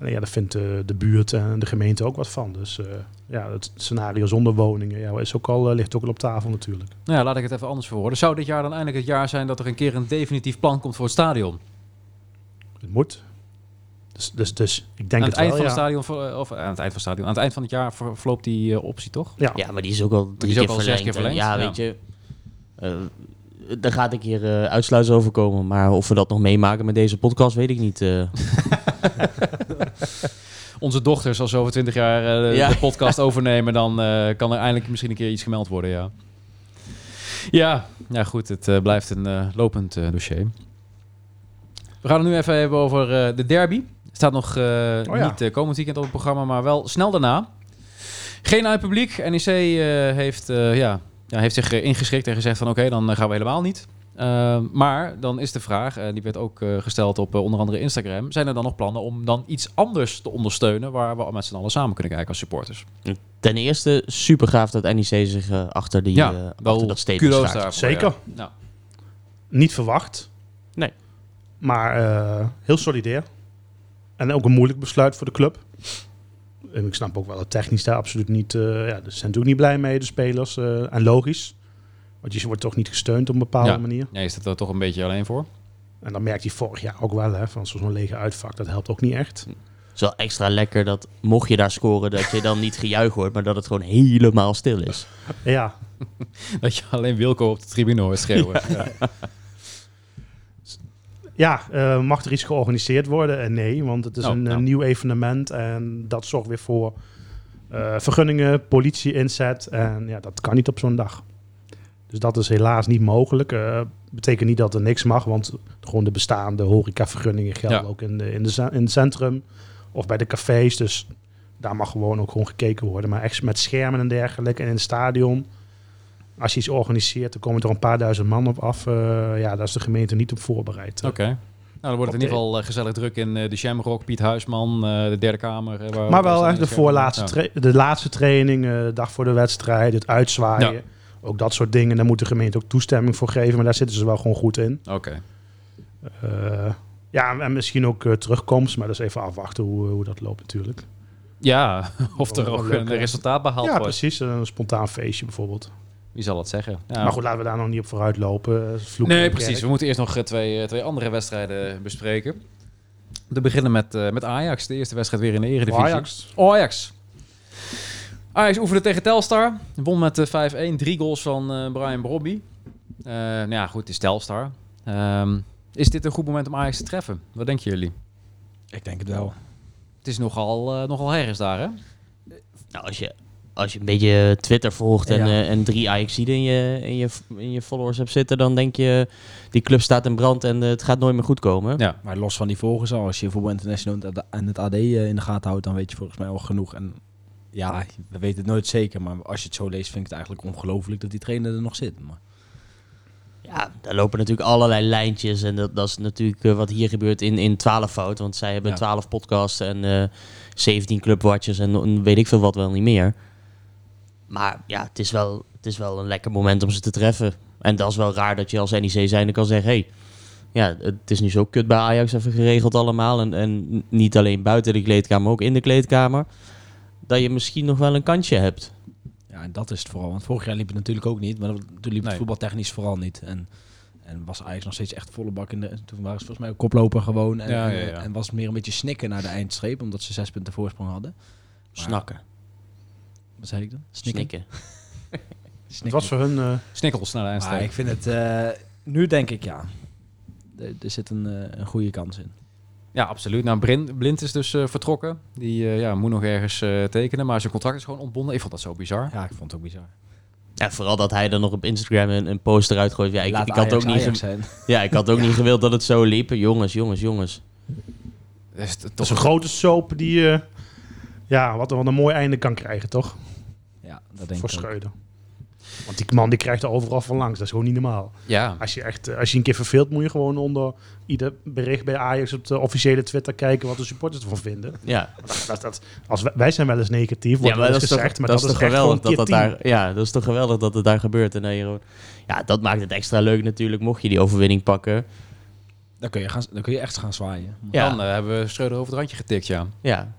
Speaker 4: Alleen ja, daar vindt eh, de buurt en de gemeente ook wat van. Dus eh, ja, het scenario zonder woningen ja, is ook al, eh, ligt ook al op tafel natuurlijk.
Speaker 2: Nou ja, laat ik het even anders verwoorden. Zou dit jaar dan eindelijk het jaar zijn dat er een keer een definitief plan komt voor het stadion?
Speaker 4: Het moet. Dus, dus, dus ik denk
Speaker 2: aan het,
Speaker 4: het,
Speaker 2: eind
Speaker 4: wel,
Speaker 2: van
Speaker 4: ja.
Speaker 2: het stadion, ver- of eh, aan het eind van het stadion, aan het eind van het jaar ver- verloopt die eh, optie toch?
Speaker 4: Ja.
Speaker 5: Ja, maar die is ook al drie
Speaker 2: is
Speaker 5: keer,
Speaker 2: ook al zes
Speaker 5: verlengd.
Speaker 2: keer
Speaker 5: En Ja,
Speaker 2: verlengd,
Speaker 5: weet je. eh, daar gaat ik hier eh uitsluitend over komen. Maar of we dat nog meemaken met deze podcast, weet ik niet. eh.
Speaker 2: Onze dochters, als ze over twintig jaar eh, de,
Speaker 5: Ja.
Speaker 2: de podcast overnemen, dan eh, kan er eindelijk misschien een keer iets gemeld worden, ja. Ja, ja goed, het eh, blijft een eh, lopend eh, dossier. We gaan het nu even hebben over eh, de derby. Staat nog eh,
Speaker 4: Oh ja.
Speaker 2: niet eh, komend weekend op het programma, maar wel snel daarna. Geen uit publiek. NEC eh, heeft, eh, ja, ja, heeft zich eh, ingeschikt en gezegd van oké, dan eh, gaan we helemaal niet. Eh, maar dan is de vraag, eh, die werd ook eh, gesteld op eh, onder andere Instagram... zijn er dan nog plannen om dan iets anders te ondersteunen... waar we met z'n allen samen kunnen kijken als supporters?
Speaker 5: ten eerste, super gaaf dat NEC zich eh, achter, die, eh, achter dat statement
Speaker 2: kudos
Speaker 5: schaart.
Speaker 2: daarvoor,
Speaker 4: Zeker.
Speaker 2: ja. Nou,
Speaker 4: Niet verwacht.
Speaker 5: Nee.
Speaker 4: Maar eh, heel solidair. En ook een moeilijk besluit voor de club. En ik snap ook wel dat technisch daar absoluut niet... eh ja, ze zijn natuurlijk niet blij mee, de spelers. eh, en logisch. Want je wordt toch niet gesteund op een bepaalde
Speaker 2: Ja.
Speaker 4: manier.
Speaker 2: nee, je staat er toch een beetje alleen voor. *laughs*
Speaker 4: En dan merkt hij vorig jaar ook wel, hè, van zo'n lege uitvak. Dat helpt ook niet echt.
Speaker 5: Het is wel extra lekker dat, mocht je daar scoren, dat je dan niet gejuich hoort, maar dat het gewoon helemaal stil is.
Speaker 4: Ja,
Speaker 2: Dat je alleen Wilco op de tribune hoort schreeuwen. Ja.
Speaker 4: Ja, eh, mag er iets georganiseerd worden? Eh, nee, want het is
Speaker 2: Oh,
Speaker 4: een eh,
Speaker 2: nou.
Speaker 4: nieuw evenement en dat zorgt weer voor eh, vergunningen, politie inzet en ja, dat kan niet op zo'n dag. Dus dat is helaas niet mogelijk. Eh betekent niet dat er niks mag, want gewoon de bestaande horecavergunningen gelden
Speaker 2: Ja.
Speaker 4: ook in, de, in, de, za- in het centrum of bij de cafés. Dus daar mag gewoon ook gewoon gekeken worden. Maar echt met schermen en dergelijke en in het stadion. Als je iets organiseert, dan komen er een paar duizend man op af. Eh, ja, daar is de gemeente niet op voorbereid.
Speaker 2: Oké. Nou, dan wordt het in ieder geval eh, gezellig druk in eh, de Shamrock, Piet Huisman, eh, de Derde Kamer. eh, waar
Speaker 4: Maar
Speaker 2: waar
Speaker 4: wel
Speaker 2: ze
Speaker 4: echt de,
Speaker 2: schermen-
Speaker 4: voorlaatste
Speaker 2: Ja.
Speaker 4: tra- de laatste training, eh, de dag voor de wedstrijd, het uitzwaaien.
Speaker 2: Ja.
Speaker 4: Ook dat soort dingen. Daar moet de gemeente ook toestemming voor geven. Maar daar zitten ze wel gewoon goed in.
Speaker 2: Oké.
Speaker 4: Eh, ja, en misschien ook eh, terugkomst. Maar dat is even afwachten hoe, eh, hoe dat loopt natuurlijk.
Speaker 2: Ja, *laughs* of
Speaker 4: Wel
Speaker 2: er ook
Speaker 4: Oh, leuk,
Speaker 2: een
Speaker 4: hè?
Speaker 2: resultaat behaald
Speaker 4: ja,
Speaker 2: wordt.
Speaker 4: precies. Een spontaan feestje bijvoorbeeld.
Speaker 2: Wie zal dat zeggen? Ja.
Speaker 4: Maar goed, laten we daar nog niet op vooruit lopen. Eh, vloeken in
Speaker 2: Nee,
Speaker 4: de
Speaker 2: precies. We
Speaker 4: kerk.
Speaker 2: moeten eerst nog eh, twee, eh, twee andere wedstrijden bespreken. We beginnen met, eh, met Ajax. De eerste wedstrijd weer in de Eredivisie. Oh,
Speaker 4: Ajax.
Speaker 2: Ajax. Ajax oefende tegen Telstar. Won met eh, 5-1. Drie goals van eh, Brian Brobby. Eh, nou ja, goed. Het is Telstar. Ehm, is dit een goed moment om Ajax te treffen? Wat denken jullie?
Speaker 3: Ik denk het wel.
Speaker 2: Het is nogal, eh, nogal herres daar, hè?
Speaker 5: Nou, als je, als je een beetje Twitter volgt en,
Speaker 3: Ja.
Speaker 5: eh, en drie Ajaxiden in je, in, je, in je followers hebt zitten, dan denk je, die club staat in brand en eh, het gaat nooit meer goed komen.
Speaker 2: Ja.
Speaker 3: Maar los van die volgers al, als je voetbal international en het AD in de gaten houdt, dan weet je volgens mij al genoeg. En ja, we weten het nooit zeker, maar als je het zo leest, vind ik het eigenlijk ongelooflijk dat die trainer er nog zit. Maar
Speaker 5: Ja, daar lopen natuurlijk allerlei lijntjes. En dat, dat is natuurlijk eh, wat hier gebeurt in, in 12 fout. Want zij hebben
Speaker 3: Ja.
Speaker 5: 12 podcasts en eh 17 clubwatches en no- weet ik veel wat wel niet meer. Maar ja, het is, wel, het is wel een lekker moment om ze te treffen. En dat is wel raar dat je als NEC zijnde kan zeggen... Hey, ja, het is nu zo kut bij Ajax even geregeld allemaal. En, en niet alleen buiten de kleedkamer, maar ook in de kleedkamer. Dat je misschien nog wel een kansje hebt.
Speaker 3: Ja, en dat is het vooral. Want vorig jaar liep het natuurlijk ook niet, maar toen liep
Speaker 2: Nee.
Speaker 3: het voetbaltechnisch vooral niet. En, en was Ajax nog steeds echt volle bak in de... en Toen waren ze volgens mij ook koploper gewoon. En,
Speaker 2: Ja, ja,
Speaker 3: en-
Speaker 2: ja.
Speaker 3: en was het meer een beetje snikken naar de eindstreep, omdat ze zes punten voorsprong hadden.
Speaker 5: Snakken.
Speaker 3: Wat zei ik dan? Snikken.
Speaker 5: Snikken.
Speaker 4: Het
Speaker 3: Snikken.
Speaker 4: was voor hun... eh,
Speaker 2: Snikkels naar de
Speaker 3: Maar ik
Speaker 2: eindstreep.
Speaker 3: vind het... eh, nu denk ik, ja, er, er zit een, eh, een goede kans in.
Speaker 2: Ja, absoluut. Nou, Brin- Blind is dus eh, vertrokken. Die eh, ja, moet nog ergens eh, tekenen, maar zijn contract is gewoon ontbonden. Ik vond dat zo bizar.
Speaker 3: Ja, ik vond het ook bizar.
Speaker 5: Ja, vooral dat hij dan nog op Instagram een, een post eruit gooit. Ja, ik,
Speaker 3: Laat
Speaker 5: ik had
Speaker 3: Ajax
Speaker 5: ook, niet,
Speaker 3: Ajax
Speaker 5: ge-
Speaker 3: zijn.
Speaker 5: ja, ik had ook niet gewild dat het zo liep. Jongens, jongens, jongens.
Speaker 2: Dat is t-
Speaker 4: dat is
Speaker 2: toch
Speaker 4: een grote soap die... eh, ja, wat, wat een mooi einde kan krijgen, toch?
Speaker 3: Ja, dat denk
Speaker 4: voor
Speaker 3: ik ook.
Speaker 4: Schreuder. Want die man die krijgt er overal van langs. Dat is gewoon niet normaal.
Speaker 2: Ja,
Speaker 4: Als je, echt, eh, als je een keer verveelt, moet je gewoon onder ieder bericht bij Ajax op de officiële Twitter kijken wat de supporters ervan vinden.
Speaker 5: Ja,
Speaker 4: *laughs* Dat, dat, dat- als wij, wij zijn wel eens negatief, wordt
Speaker 5: ja
Speaker 4: ja, wel eens gezegd, maar dat, is,
Speaker 5: toch
Speaker 4: echt
Speaker 5: geweldig
Speaker 4: gewoon
Speaker 5: dat
Speaker 4: keer
Speaker 5: dat
Speaker 4: tien.
Speaker 5: daar, ja, dat is toch geweldig dat het daar gebeurt. En dat je gewoon- ja, dat maakt het extra leuk natuurlijk, mocht je die overwinning pakken.
Speaker 3: Dan kun, je gaan, dan kun je echt gaan zwaaien.
Speaker 5: Ja,
Speaker 2: dan eh, hebben we Schreuder over het randje getikt, ja.
Speaker 5: ja.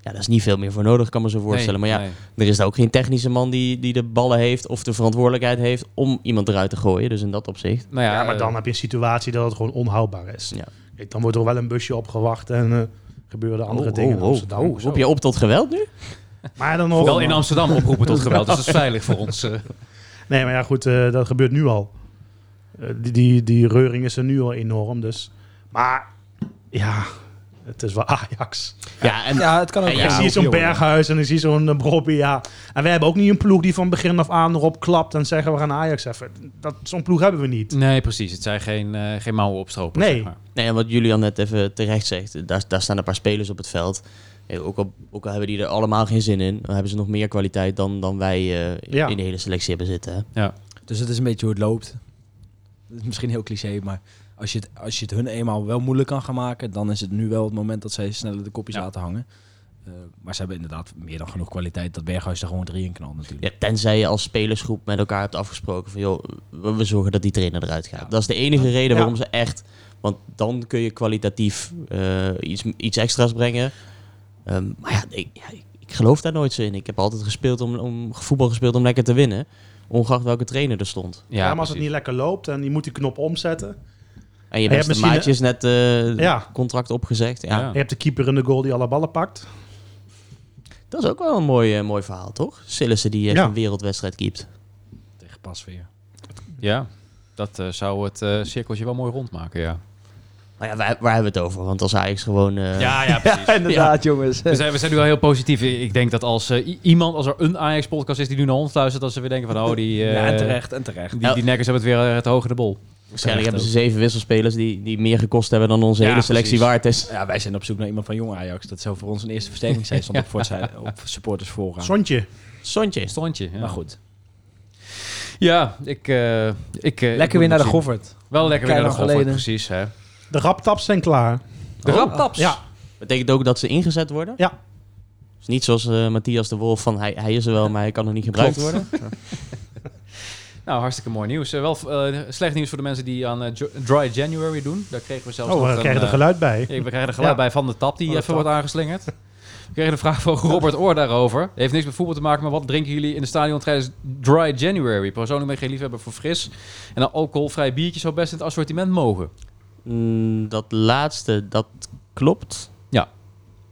Speaker 5: ja, daar is niet veel meer voor nodig, kan me zo voorstellen.
Speaker 2: Nee,
Speaker 5: maar ja,
Speaker 2: nee.
Speaker 5: Er is daar ook geen technische man die, die de ballen heeft of de verantwoordelijkheid heeft om iemand eruit te gooien. Dus in dat opzicht.
Speaker 2: Nou ja,
Speaker 4: Ja, maar
Speaker 2: eh,
Speaker 4: dan heb je een situatie dat het gewoon onhoudbaar is.
Speaker 5: Ja.
Speaker 4: Kijk, dan wordt er wel een busje opgewacht en eh, gebeuren andere
Speaker 5: Oh,
Speaker 4: dingen
Speaker 5: oh,
Speaker 4: in
Speaker 5: oh.
Speaker 4: Amsterdam.
Speaker 2: Oh,
Speaker 5: Roep je op tot geweld nu?
Speaker 4: Maar dan nog...
Speaker 2: Vooral in Amsterdam oproepen tot geweld, dus dat is veilig voor ons. eh.
Speaker 4: Nee, maar ja, goed, eh, dat gebeurt nu al. Eh, die, die, die reuring is er nu al enorm, dus... Maar, ja, het is wel Ajax.
Speaker 5: Ja, en
Speaker 3: Ja, het kan ook.
Speaker 5: En
Speaker 4: ik
Speaker 5: Ja,
Speaker 4: zie zo'n Berghuis en ik zie zo'n eh, Brobby, ja. En wij hebben ook niet een ploeg die van begin af aan erop klapt en zeggen we gaan Ajax even. Dat, zo'n ploeg hebben we niet.
Speaker 2: *laughs* Nee, precies. Het zijn geen, eh, geen mouwen opstropen.
Speaker 4: Nee.
Speaker 2: zeg maar.
Speaker 5: Nee, en wat Julian net even terecht zegt, daar, daar staan een paar spelers op het veld. Eh, Ook al, ook al hebben die er allemaal geen zin in, dan hebben ze nog meer kwaliteit dan, dan wij eh,
Speaker 4: Ja.
Speaker 5: in de hele selectie hebben zitten. hè.
Speaker 3: Dus het is een beetje hoe het loopt. Het is misschien heel cliché, maar als je, het, als je het hun eenmaal wel moeilijk kan gaan maken, dan is het nu wel het moment dat zij sneller de kopjes
Speaker 2: Ja.
Speaker 3: laten hangen. Eh, maar ze hebben inderdaad meer dan genoeg kwaliteit dat Berghuis er gewoon drie in knalt natuurlijk.
Speaker 5: Ja, tenzij je als spelersgroep met elkaar hebt afgesproken van joh, we, we zorgen dat die trainer eruit gaat.
Speaker 3: Ja.
Speaker 5: Dat is de enige reden
Speaker 4: Ja.
Speaker 5: waarom ze echt. Want dan kun je kwalitatief eh, iets, iets extra's brengen. Ehm, maar ja ik, ja, ik- ik geloof daar nooit zo in. Ik heb altijd gespeeld om, om voetbal gespeeld om lekker te winnen. Ongeacht welke trainer er stond.
Speaker 4: Ja,
Speaker 2: Ja,
Speaker 4: maar als het
Speaker 2: precies.
Speaker 4: niet lekker loopt en je moet die knop omzetten.
Speaker 5: En je
Speaker 4: hebt
Speaker 5: beste
Speaker 4: misschien-
Speaker 5: maatjes net eh,
Speaker 4: Ja.
Speaker 5: contract opgezegd. Ja,
Speaker 2: Ja.
Speaker 4: Je hebt de keeper in de goal die alle ballen pakt.
Speaker 5: Dat is ook wel een mooi, eh, mooi verhaal, toch? Sillissen die echt
Speaker 4: Ja.
Speaker 5: een wereldwedstrijd keept.
Speaker 3: Tegen Pasveer.
Speaker 2: Ja, dat eh, zou het eh, cirkeltje wel mooi rondmaken, ja.
Speaker 5: Maar ja, waar, waar hebben we het over? Want als Ajax gewoon... eh,
Speaker 2: Ja, ja, precies.
Speaker 3: inderdaad jongens.
Speaker 2: We zijn, we zijn nu wel heel positief. Ik denk dat als eh, i- iemand, als er een Ajax-podcast is die nu naar ons luistert, dat ze weer denken van, oh, die, eh,
Speaker 3: ja, en terecht, en terecht.
Speaker 2: die, die nekkers hebben het weer eh, het hoge de bol.
Speaker 5: Waarschijnlijk
Speaker 3: Terecht
Speaker 5: hebben ze zeven wisselspelers die, die meer gekost hebben dan onze hele selectie
Speaker 2: precies.
Speaker 5: waard is.
Speaker 3: Ja, wij zijn op zoek naar iemand van jong Ajax. Dat zou voor ons een eerste versterking zijn,
Speaker 2: *laughs*
Speaker 3: stond op, voorzij- op supporters vooraan.
Speaker 4: Sontje.
Speaker 5: Sontje.
Speaker 2: Stontje. Ja.
Speaker 3: Maar goed,
Speaker 2: Ja, ik... eh, ik eh, ik
Speaker 3: lekker
Speaker 2: moet
Speaker 3: weer naar de
Speaker 2: nog zien.
Speaker 3: Goffert.
Speaker 2: Wel lekker weer naar
Speaker 3: Keilang
Speaker 2: de Goffert,
Speaker 3: geleden.
Speaker 2: precies. Hè.
Speaker 4: De raptaps zijn klaar.
Speaker 2: De
Speaker 3: Oh.
Speaker 2: raptaps.
Speaker 4: Ja.
Speaker 5: Betekent ook dat ze ingezet worden?
Speaker 4: Ja.
Speaker 5: Dus niet zoals eh, Matthias de Wolf van hij, hij is er wel, maar hij kan nog niet gebruikt
Speaker 2: Klopt.
Speaker 5: worden.
Speaker 2: Nou, hartstikke mooi nieuws. Eh, wel eh, slecht nieuws voor de mensen die aan eh, Jo- Dry January doen. Daar kregen we zelfs
Speaker 4: Oh,
Speaker 2: nog
Speaker 4: we
Speaker 2: een,
Speaker 4: krijgen er
Speaker 2: eh,
Speaker 4: geluid bij.
Speaker 2: Ja, we krijgen de geluid
Speaker 4: Ja.
Speaker 2: bij van de tap die
Speaker 4: Van de
Speaker 2: even
Speaker 4: tap.
Speaker 2: wordt aangeslingerd. We kregen een vraag van Robert Oor daarover. Heeft niks met voetbal te maken, maar wat drinken jullie in het stadion tijdens Dry January? Persoonlijk ben ik geen liefhebber voor fris. En een alcoholvrij biertje zou best in het assortiment mogen.
Speaker 5: Mm, dat laatste, dat klopt.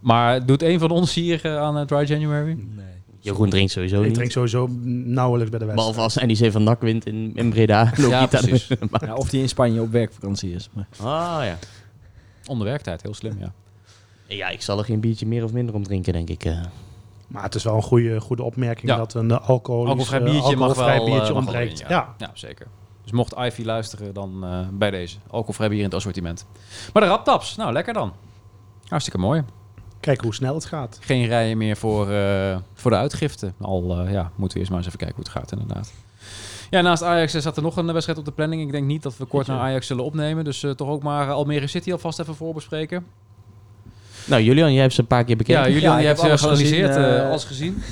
Speaker 2: Maar doet een van ons hier eh, aan eh, Dry January?
Speaker 3: Nee.
Speaker 5: Jeroen drinkt sowieso
Speaker 4: Ik
Speaker 5: niet.
Speaker 4: drink sowieso nauwelijks bij de wedstrijd.
Speaker 5: Behalve als NEC van Nak wint in, in Breda. *laughs* Loopt
Speaker 2: Ja,
Speaker 5: niet aan
Speaker 4: *laughs*
Speaker 5: de-
Speaker 2: precies.
Speaker 3: Ja, of die in Spanje op werkvakantie is. Maar
Speaker 5: Ah ja.
Speaker 2: Onder werktijd, heel slim, ja.
Speaker 5: Ja, ik zal er geen biertje meer of minder om drinken, denk ik. eh.
Speaker 4: Maar het is wel een goede, goede opmerking
Speaker 2: Ja.
Speaker 4: dat een eh, alcoholisch,
Speaker 2: Alcoholvrij
Speaker 4: eh,
Speaker 2: biertje mag
Speaker 4: alcoholvrij
Speaker 2: wel, eh,
Speaker 4: biertje
Speaker 2: mag wel
Speaker 4: ontbreekt.
Speaker 2: in,
Speaker 4: ja.
Speaker 2: ja. Ja, zeker. Dus mocht Ivy luisteren, dan eh, bij deze. Alcoholvrij bier in het assortiment. Maar de raptaps, nou lekker dan. Hartstikke mooi.
Speaker 4: kijk hoe snel het gaat.
Speaker 2: geen rijen meer voor, eh, voor de uitgifte. Al eh, ja, moeten we eerst maar eens even kijken hoe het gaat, inderdaad. Ja, naast Ajax eh, zat er nog een eh, wedstrijd op de planning. Ik denk niet dat we kort
Speaker 5: Jeetje.
Speaker 2: naar Ajax zullen opnemen. Dus eh, toch ook maar eh, Almere City alvast even voorbespreken.
Speaker 5: Nou, Julian, jij hebt ze een paar keer bekeken.
Speaker 2: Ja, Julian,
Speaker 3: Ja, ik
Speaker 2: je hebt
Speaker 3: heb
Speaker 2: eh,
Speaker 3: alles
Speaker 2: geanalyseerd,
Speaker 3: gezien, eh,
Speaker 2: eh, alles gezien.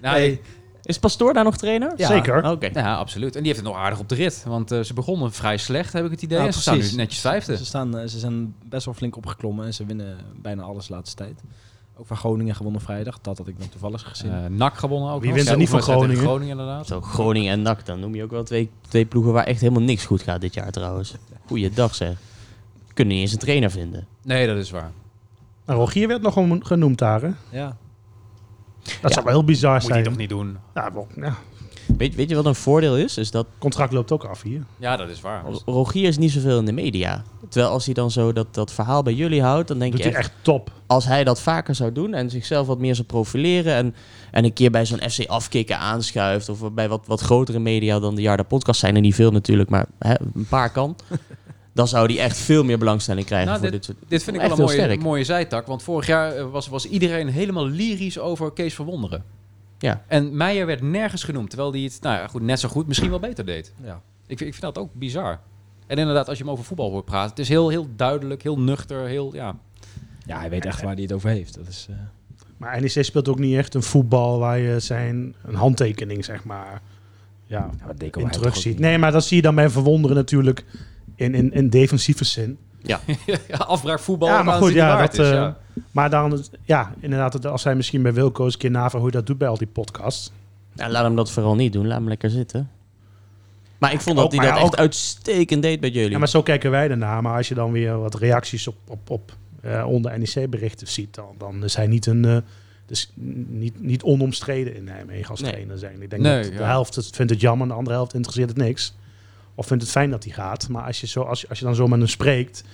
Speaker 2: Nou,
Speaker 3: Hey.
Speaker 2: ik-
Speaker 5: Is Pastoor daar nog trainer?
Speaker 3: Ja.
Speaker 4: Zeker.
Speaker 5: Oké.
Speaker 2: ja, absoluut. En die heeft het nog aardig op de rit. Want eh, ze begonnen vrij slecht, heb ik Nou, het idee.
Speaker 3: Ja,
Speaker 2: en ze staan nu
Speaker 3: precies.
Speaker 2: netjes vijfde.
Speaker 3: Ze, staan, eh, ze zijn best wel flink opgeklommen en ze winnen bijna alles de laatste tijd. Ook van Groningen gewonnen vrijdag. Dat had ik nog toevallig gezien.
Speaker 2: Eh NAC gewonnen ook.
Speaker 4: Wie
Speaker 2: nog.
Speaker 4: wint er
Speaker 2: Ja,
Speaker 4: niet van
Speaker 2: oefenwedstrijd tegen inderdaad.
Speaker 5: Zo, Groningen en NAC, dan noem je ook wel twee, twee ploegen waar echt helemaal niks goed gaat dit jaar trouwens. Goeiedag zeg. Kunnen niet eens een trainer vinden.
Speaker 2: Nee, dat is waar.
Speaker 4: En Rogier werd nog om- genoemd daar, hè?
Speaker 3: ja.
Speaker 4: Dat zou wel heel bizar
Speaker 2: Moet je
Speaker 4: zijn.
Speaker 2: toch niet doen.
Speaker 4: Ja, wel- ja,
Speaker 5: Weet, weet je wat een voordeel is? Is dat
Speaker 4: contract loopt ook af hier.
Speaker 2: Ja, dat is waar.
Speaker 5: Ro- Rogier is niet zoveel in de media. Terwijl als hij dan zo dat, dat verhaal bij jullie houdt, dan denk
Speaker 4: Doet
Speaker 5: je
Speaker 4: hij
Speaker 5: echt,
Speaker 4: echt top.
Speaker 5: als hij dat vaker zou doen en zichzelf wat meer zou profileren en, en een keer bij zo'n FC afkikken aanschuift of bij wat, wat grotere media dan de Jarda podcast zijn er niet veel natuurlijk, maar hè, een paar kan. dan zou hij echt veel meer belangstelling krijgen
Speaker 2: Nou,
Speaker 5: voor dit, soort.
Speaker 2: Dit vind ik
Speaker 5: Echt
Speaker 2: wel een
Speaker 5: heel
Speaker 2: mooie,
Speaker 5: sterk.
Speaker 2: mooie zijtak. Want vorig jaar eh, was, was iedereen helemaal lyrisch over Kees van Wonderen.
Speaker 5: Ja.
Speaker 2: En Meijer werd nergens genoemd. Terwijl hij het nou ja, goed, net zo goed, misschien wel beter deed.
Speaker 3: ja.
Speaker 2: Ik, vind- ik vind dat ook bizar. En inderdaad, als je hem over voetbal hoort praten, het is heel, heel duidelijk, heel nuchter, heel, ja. *laughs*
Speaker 3: Ja, hij weet echt waar hij het over heeft. Dat is, eh,
Speaker 4: Maar NEC speelt ook niet echt een voetbal waar je zijn een handtekening, zeg maar, ja,
Speaker 3: nou, dat
Speaker 4: in terugziet. Nee, maar dat zie je dan bij Verwonderen natuurlijk in, in, in defensieve zin.
Speaker 2: ja afbraak voetbal.
Speaker 4: Ja, maar
Speaker 2: waar het
Speaker 4: goed,
Speaker 2: niet
Speaker 4: ja,
Speaker 2: waard
Speaker 4: dat,
Speaker 2: is,
Speaker 4: eh,
Speaker 2: ja.
Speaker 4: Maar dan, ja, inderdaad, als hij misschien bij Wilco eens een keer navraagt hoe hij dat doet bij al die podcasts.
Speaker 5: Nou, laat hem dat vooral niet doen, laat hem lekker zitten. Maar ik vond
Speaker 4: ook,
Speaker 5: dat hij
Speaker 4: maar
Speaker 5: dat
Speaker 4: ja,
Speaker 5: echt
Speaker 4: ook-
Speaker 5: uitstekend deed bij jullie.
Speaker 4: Ja, maar zo kijken wij ernaar. Maar als je dan weer wat reacties op, op, op eh, onder NEC-berichten ziet, dan, dan is hij niet een... eh, dus niet, niet onomstreden in Nijmegen als
Speaker 5: Nee.
Speaker 4: trainer zijn. Ik denk
Speaker 2: Nee,
Speaker 4: dat de
Speaker 2: ja.
Speaker 4: helft het, vindt het jammer, de andere helft interesseert het niks. Of vindt het fijn dat hij gaat. Maar als je, zo, als, je- als je dan zo met hem spreekt...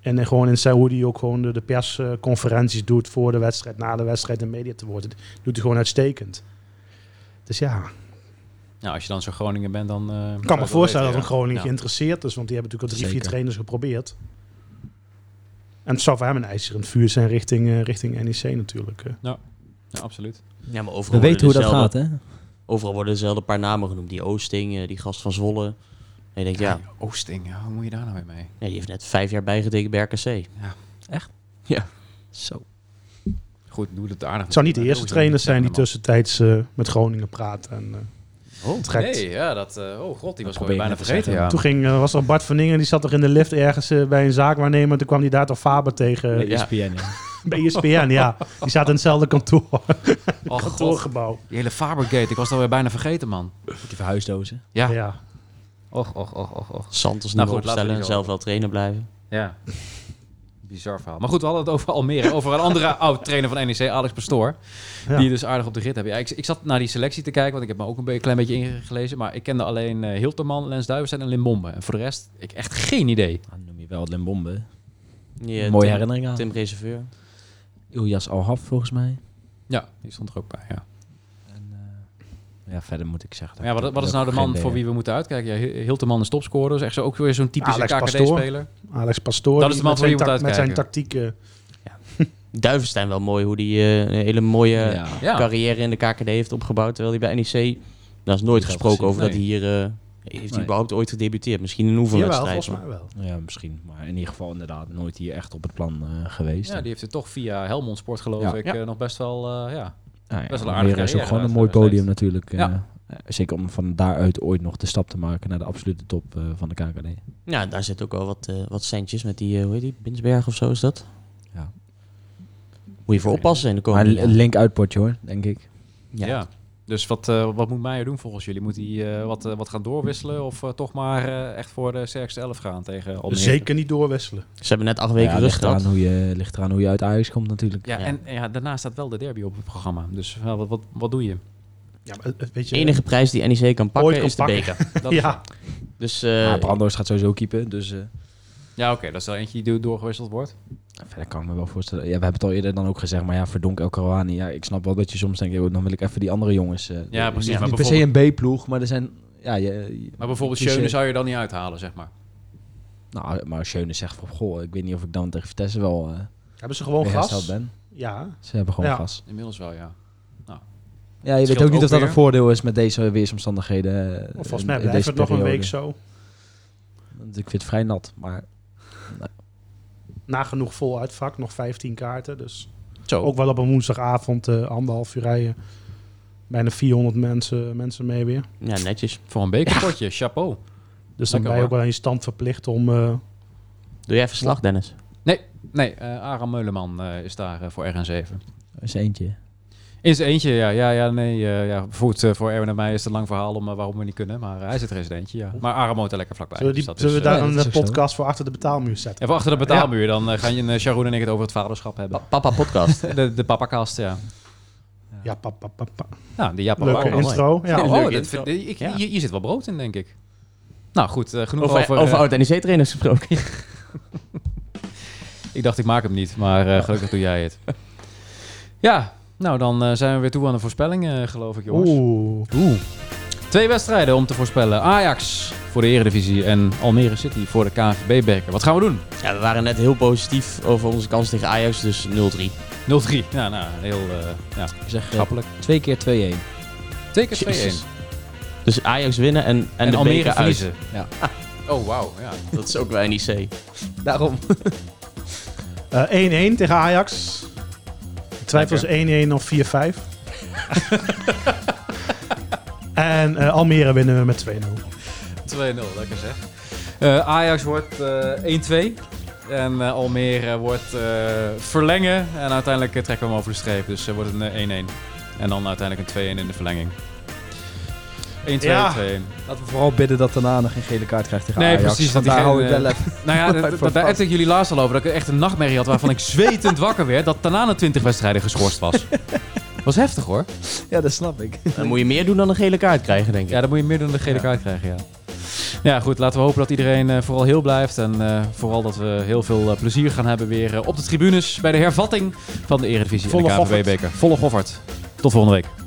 Speaker 4: en dan gewoon in Saoedi ook gewoon de, de persconferenties doet... voor de wedstrijd, na de wedstrijd en media te worden... doet hij gewoon uitstekend. Dus ja,
Speaker 2: Nou, als je dan zo Groningen bent, dan... eh,
Speaker 4: ik
Speaker 2: zou
Speaker 4: kan
Speaker 2: je
Speaker 4: me
Speaker 2: dat
Speaker 4: voorstellen dat
Speaker 2: weten,
Speaker 4: een Groningen
Speaker 2: ja.
Speaker 4: geïnteresseerd is, want die hebben natuurlijk al drie,
Speaker 3: Zeker.
Speaker 4: vier trainers geprobeerd. En het zou voor hem een ijzeren vuur zijn richting, eh, richting NEC natuurlijk. eh.
Speaker 2: Ja, absoluut.
Speaker 5: Ja, maar
Speaker 3: We
Speaker 5: overal
Speaker 3: weten hoe
Speaker 5: worden
Speaker 3: dat
Speaker 5: dezelfde-
Speaker 3: gaat, hè?
Speaker 5: Overal worden dezelfde paar namen genoemd. Die Oosting, eh, die gast van Zwolle. En je denkt, ja,
Speaker 2: Oosting, ja, hoe moet je daar nou weer mee?
Speaker 5: nee, die heeft net vijf jaar bijgetekend bij RKC.
Speaker 3: Zo.
Speaker 2: Goed, doe het aardig.
Speaker 4: Het zou niet de
Speaker 2: Maar
Speaker 4: eerste
Speaker 2: hoezo niet
Speaker 4: trainer zijn die
Speaker 2: zeggen,
Speaker 4: tussentijds eh, met Groningen praat. En, eh,
Speaker 2: man? Oh,
Speaker 4: trekt.
Speaker 2: Nee, ja, dat... eh, oh god, die
Speaker 3: probeer
Speaker 2: was gewoon
Speaker 3: ik
Speaker 2: bijna
Speaker 3: net te
Speaker 2: vergeten, ja.
Speaker 4: Toen ging, eh, was er Bart van Ingen, die zat toch in de lift ergens eh, bij een zaakwaarnemer. Toen kwam die daar toch Faber tegen eh,
Speaker 3: Bij
Speaker 5: ja.
Speaker 3: ESPN, Eh, *laughs* ja.
Speaker 4: bij E ESPN. ja, die zaten in hetzelfde
Speaker 2: *laughs*
Speaker 4: kantoor,
Speaker 2: Oh, god,
Speaker 4: kantoorgebouw.
Speaker 2: die hele Fabergate, ik was dat weer bijna vergeten, man.
Speaker 3: Met die verhuisdozen.
Speaker 2: Ja.
Speaker 4: Ja.
Speaker 2: Och, och, och, och, och.
Speaker 5: Santos
Speaker 2: Nou
Speaker 5: niet
Speaker 2: goed, laten we
Speaker 5: opstellen
Speaker 2: die
Speaker 5: en
Speaker 2: zo
Speaker 5: zelf wel trainer blijven.
Speaker 2: Ja. *laughs* Bizar verhaal. Maar goed, we hadden het over Almere. Over een *laughs* andere oud-trainer van NEC, Alex Pastoor.
Speaker 4: Ja.
Speaker 2: Die dus aardig op de rit hebben. Ja, ik, ik zat naar die selectie te kijken, want ik heb me ook een be- klein beetje ingelezen. Maar ik kende alleen eh Hilterman, Lens Duivenstein en Limbombe. En voor de rest, ik echt geen idee.
Speaker 3: Ah, dan noem je wel het Limbombe.
Speaker 5: Ja,
Speaker 3: Mooie
Speaker 5: eh, Tim-
Speaker 3: herinnering aan.
Speaker 5: Tim Reserveur.
Speaker 3: Ilyas Alhaf, volgens mij.
Speaker 2: Ja, die stond er ook bij, ja.
Speaker 3: En, eh, ja, verder moet ik zeggen. dat
Speaker 2: Maar ja, wat,
Speaker 3: ik
Speaker 2: wat is
Speaker 3: ook
Speaker 2: nou de
Speaker 3: geen
Speaker 2: man
Speaker 3: idee
Speaker 2: voor
Speaker 3: heb.
Speaker 2: wie we moeten uitkijken? Ja, Hi- Hilterman is topscorer, dus echt zo, ook weer zo'n typische
Speaker 4: Alex Pastoor.
Speaker 2: KKD-speler.
Speaker 4: Alex Pastoor,
Speaker 2: Dat is de man
Speaker 4: die
Speaker 2: voor
Speaker 4: met,
Speaker 2: wie
Speaker 4: zijn
Speaker 2: je moet
Speaker 4: tac- met zijn
Speaker 2: uitkijken.
Speaker 4: tactieken.
Speaker 5: Duivenstein wel mooi, hoe die eh, een hele mooie
Speaker 3: Ja.
Speaker 2: Ja.
Speaker 5: carrière in de KKD heeft opgebouwd. Terwijl hij bij E NEC, daar nou, is nooit
Speaker 3: Niet
Speaker 5: gesproken
Speaker 3: gezien,
Speaker 5: over dat hij
Speaker 3: nee.
Speaker 5: hier... eh, heeft hij
Speaker 3: Nee.
Speaker 5: überhaupt ooit gedebuteerd? Misschien in een
Speaker 4: Jawel,
Speaker 5: oefenwedstrijd.
Speaker 4: volgens
Speaker 5: maar-
Speaker 4: mij wel.
Speaker 3: Ja, misschien. Maar in ieder geval inderdaad nooit hier echt op het plan eh, geweest.
Speaker 2: Ja, die heeft het toch via Helmond Sport, geloof
Speaker 3: Ja.
Speaker 2: ik,
Speaker 5: Ja.
Speaker 2: eh, nog best wel... eh, ja.
Speaker 3: Nou ja,
Speaker 2: Best wel
Speaker 3: Almere
Speaker 2: een aardige
Speaker 3: is ook
Speaker 2: carrière
Speaker 3: gewoon een mooi
Speaker 2: laatst,
Speaker 3: podium
Speaker 2: steeds.
Speaker 3: natuurlijk. eh,
Speaker 2: Ja.
Speaker 3: eh, zeker om van daaruit ooit nog de stap te maken naar de absolute top eh, van de KKD.
Speaker 5: Ja, daar zit ook wel wat, eh, wat centjes met die, eh, hoe heet die, Binsberg of zo is dat?
Speaker 3: Ja.
Speaker 5: Moet je voor oppassen in de
Speaker 3: Maar
Speaker 5: komende
Speaker 3: een
Speaker 5: jaren.
Speaker 3: link uitpotje hoor, denk ik.
Speaker 2: Ja.
Speaker 5: Ja.
Speaker 2: Dus wat, eh, wat moet Meijer doen volgens jullie? Moet hij eh, wat, eh, wat gaan doorwisselen of eh, toch maar eh, echt voor de sterkste elf gaan tegen Almere?
Speaker 4: Zeker niet doorwisselen.
Speaker 5: Ze hebben net acht weken
Speaker 3: ja,
Speaker 5: rust
Speaker 3: ligt,
Speaker 5: gehad.
Speaker 3: eraan hoe je, ligt eraan hoe je uit Ajax komt natuurlijk.
Speaker 2: Ja, en ja, daarna staat wel de derby op het programma. Dus ja, wat, wat, wat
Speaker 4: *laughs*
Speaker 2: doe je?
Speaker 4: Ja, maar, eh, weet je,
Speaker 5: De enige prijs die NEC kan pakken
Speaker 4: Ooit kan
Speaker 5: is de
Speaker 4: pakken.
Speaker 5: beker.
Speaker 2: Dat
Speaker 4: *laughs* ja.
Speaker 3: *laughs*
Speaker 5: Dus eh,
Speaker 3: Maar Brando's Ah, gaat sowieso keepen, dus eh,
Speaker 2: Ja, oké. dat is wel eentje die doorgewisseld wordt.
Speaker 3: verder kan ik me wel voorstellen. Ja, we hebben het al eerder dan ook gezegd, maar ja, verdonk El Karouani. Ja, ik snap wel dat je soms denkt, joh, dan wil ik even die andere jongens. eh,
Speaker 2: Ja, precies,
Speaker 3: Niet,
Speaker 2: maar
Speaker 3: niet per se een B-ploeg, maar er zijn... Ja, je, je-
Speaker 2: Maar bijvoorbeeld
Speaker 3: Kies je-
Speaker 2: Schöne zou je dan niet uithalen, zeg maar.
Speaker 3: nou, maar Schöne zegt van, goh, ik weet niet of ik dan tegen Vitesse wel eh
Speaker 4: Hebben ze gewoon
Speaker 3: weer hersteld
Speaker 4: gas?
Speaker 3: ben.
Speaker 4: Ja.
Speaker 3: Ze hebben gewoon
Speaker 4: Ja.
Speaker 3: gas.
Speaker 2: Inmiddels wel, ja. Nou,
Speaker 3: Ja, je weet
Speaker 2: scheelt
Speaker 3: ook niet
Speaker 2: ook
Speaker 3: of dat
Speaker 2: weer.
Speaker 3: een voordeel is met deze weersomstandigheden. eh,
Speaker 4: Of volgens
Speaker 3: in-
Speaker 4: mij
Speaker 3: in
Speaker 4: blijft
Speaker 3: deze
Speaker 4: het nog een
Speaker 3: periode.
Speaker 4: week zo.
Speaker 3: Want ik vind het vrij nat, maar
Speaker 4: Nagenoeg vol uitvak, nog 15 kaarten. Dus
Speaker 3: Oh.
Speaker 2: Zo.
Speaker 4: ook wel op een woensdagavond eh, anderhalf uur rijden. Bijna 400 mensen, mensen mee weer.
Speaker 5: Ja, netjes.
Speaker 2: Voor een bekerpotje, chapeau.
Speaker 4: Dus dan
Speaker 2: Lekker,
Speaker 4: ben je
Speaker 2: hoor.
Speaker 4: ook wel aan je stand verplicht om... eh,
Speaker 5: Doe jij verslag, Dennis?
Speaker 2: Nee, eh Aram Meuleman eh, is daar eh, voor RN7.
Speaker 3: er is eentje.
Speaker 2: In zijn eentje, ja. Ja, ja nee. eh, ja, bijvoorbeeld eh, voor Erwin en mij is het een lang verhaal om eh, waarom we niet kunnen. Maar hij zit er eens in eentje, ja. Maar Aram woont er lekker vlakbij.
Speaker 4: zullen we,
Speaker 2: dus
Speaker 4: die,
Speaker 2: dat
Speaker 4: zullen we
Speaker 2: is, eh,
Speaker 4: daar
Speaker 3: ja, dat is
Speaker 4: een
Speaker 3: ook zo.
Speaker 4: podcast voor achter de betaalmuur zetten?
Speaker 2: Even achter de betaalmuur, dan eh, gaan je, eh, Sharon en ik het over het vaderschap hebben.
Speaker 5: papa podcast.
Speaker 2: De, de papakast, ja.
Speaker 4: Ja, pap, pap, pap, pap.
Speaker 2: Nou, die Japan
Speaker 4: Leuke
Speaker 2: wel.
Speaker 4: intro. Ja.
Speaker 2: Oh,
Speaker 5: leuke
Speaker 2: dat
Speaker 5: intro.
Speaker 2: vind- ik,
Speaker 5: Ja.
Speaker 2: hier, hier zit wel brood in, denk ik. Nou goed, eh, genoeg
Speaker 5: over
Speaker 2: over...
Speaker 5: over,
Speaker 2: eh,
Speaker 5: oud-NEC-trainers gesproken.
Speaker 2: ik dacht, ik maak hem niet, maar eh, gelukkig doe jij
Speaker 5: *laughs*
Speaker 2: het. Ja, nou dan eh, zijn we weer toe aan de voorspelling, eh, geloof ik, jongens.
Speaker 4: Oeh.
Speaker 2: Twee wedstrijden om te voorspellen. Ajax voor de Eredivisie en Almere City voor de KNVB-beker. Wat gaan we doen?
Speaker 5: *laughs* Ja, we waren net heel positief over onze kans tegen Ajax, dus 0-3.
Speaker 2: 0-3. Ja, nou, heel eh ja,
Speaker 3: Ik zeg eh,
Speaker 2: grappelijk.
Speaker 3: twee keer 2-1.
Speaker 2: Twee keer 2-1.
Speaker 5: Jezus.
Speaker 2: En,
Speaker 5: Dus Ajax winnen en, en, de
Speaker 2: Almere
Speaker 5: beker uit.
Speaker 2: verliezen.
Speaker 3: Ja.
Speaker 2: *laughs* Oh, wauw. Ja.
Speaker 5: Dat is ook E bij NEC.
Speaker 3: Daarom.
Speaker 4: Eh, 1-1 tegen Ajax. De twijfel is 1-1 of 4-5. *laughs* en eh, Almere winnen we met 2-0.
Speaker 2: 2-0, lekker zeg. Eh, Ajax wordt eh, 1-2. En eh, Almere wordt eh, verlengen. En uiteindelijk eh, trekken we hem over de streep. Dus eh, wordt het een eh, 1-1. En dan uiteindelijk een 2-1 in de verlenging. 1-2,
Speaker 4: Ja.
Speaker 2: 2-1.
Speaker 3: Laten we vooral bidden dat daarna nog geen gele kaart krijgt tegen
Speaker 2: Nee,
Speaker 3: Ajax.
Speaker 2: precies, dat
Speaker 3: Want
Speaker 2: die
Speaker 3: daar
Speaker 2: geen,
Speaker 3: hou ik wel
Speaker 2: eh,
Speaker 3: even. *laughs*
Speaker 2: Nou ja, dat-
Speaker 3: Voor
Speaker 2: dat- daar
Speaker 3: vast.
Speaker 2: appte ik jullie laatst al over. Dat ik echt een nachtmerrie had waarvan ik zwetend wakker werd. Dat Tanane 20 wedstrijden geschorst was. was heftig hoor.
Speaker 3: Ja, dat snap ik.
Speaker 5: Dan moet je meer doen dan een gele kaart krijgen, denk ik.
Speaker 2: Ja, dan moet je meer dan de gele
Speaker 5: Ja.
Speaker 2: kaart krijgen, ja. Ja, goed. Laten we hopen dat iedereen eh, vooral heel blijft. En eh, vooral dat we heel veel eh, plezier gaan hebben weer eh, op de tribunes bij de hervatting van de Eredivisie en
Speaker 4: Volle
Speaker 2: de KNVB-beker. Volle goffert. Tot volgende week.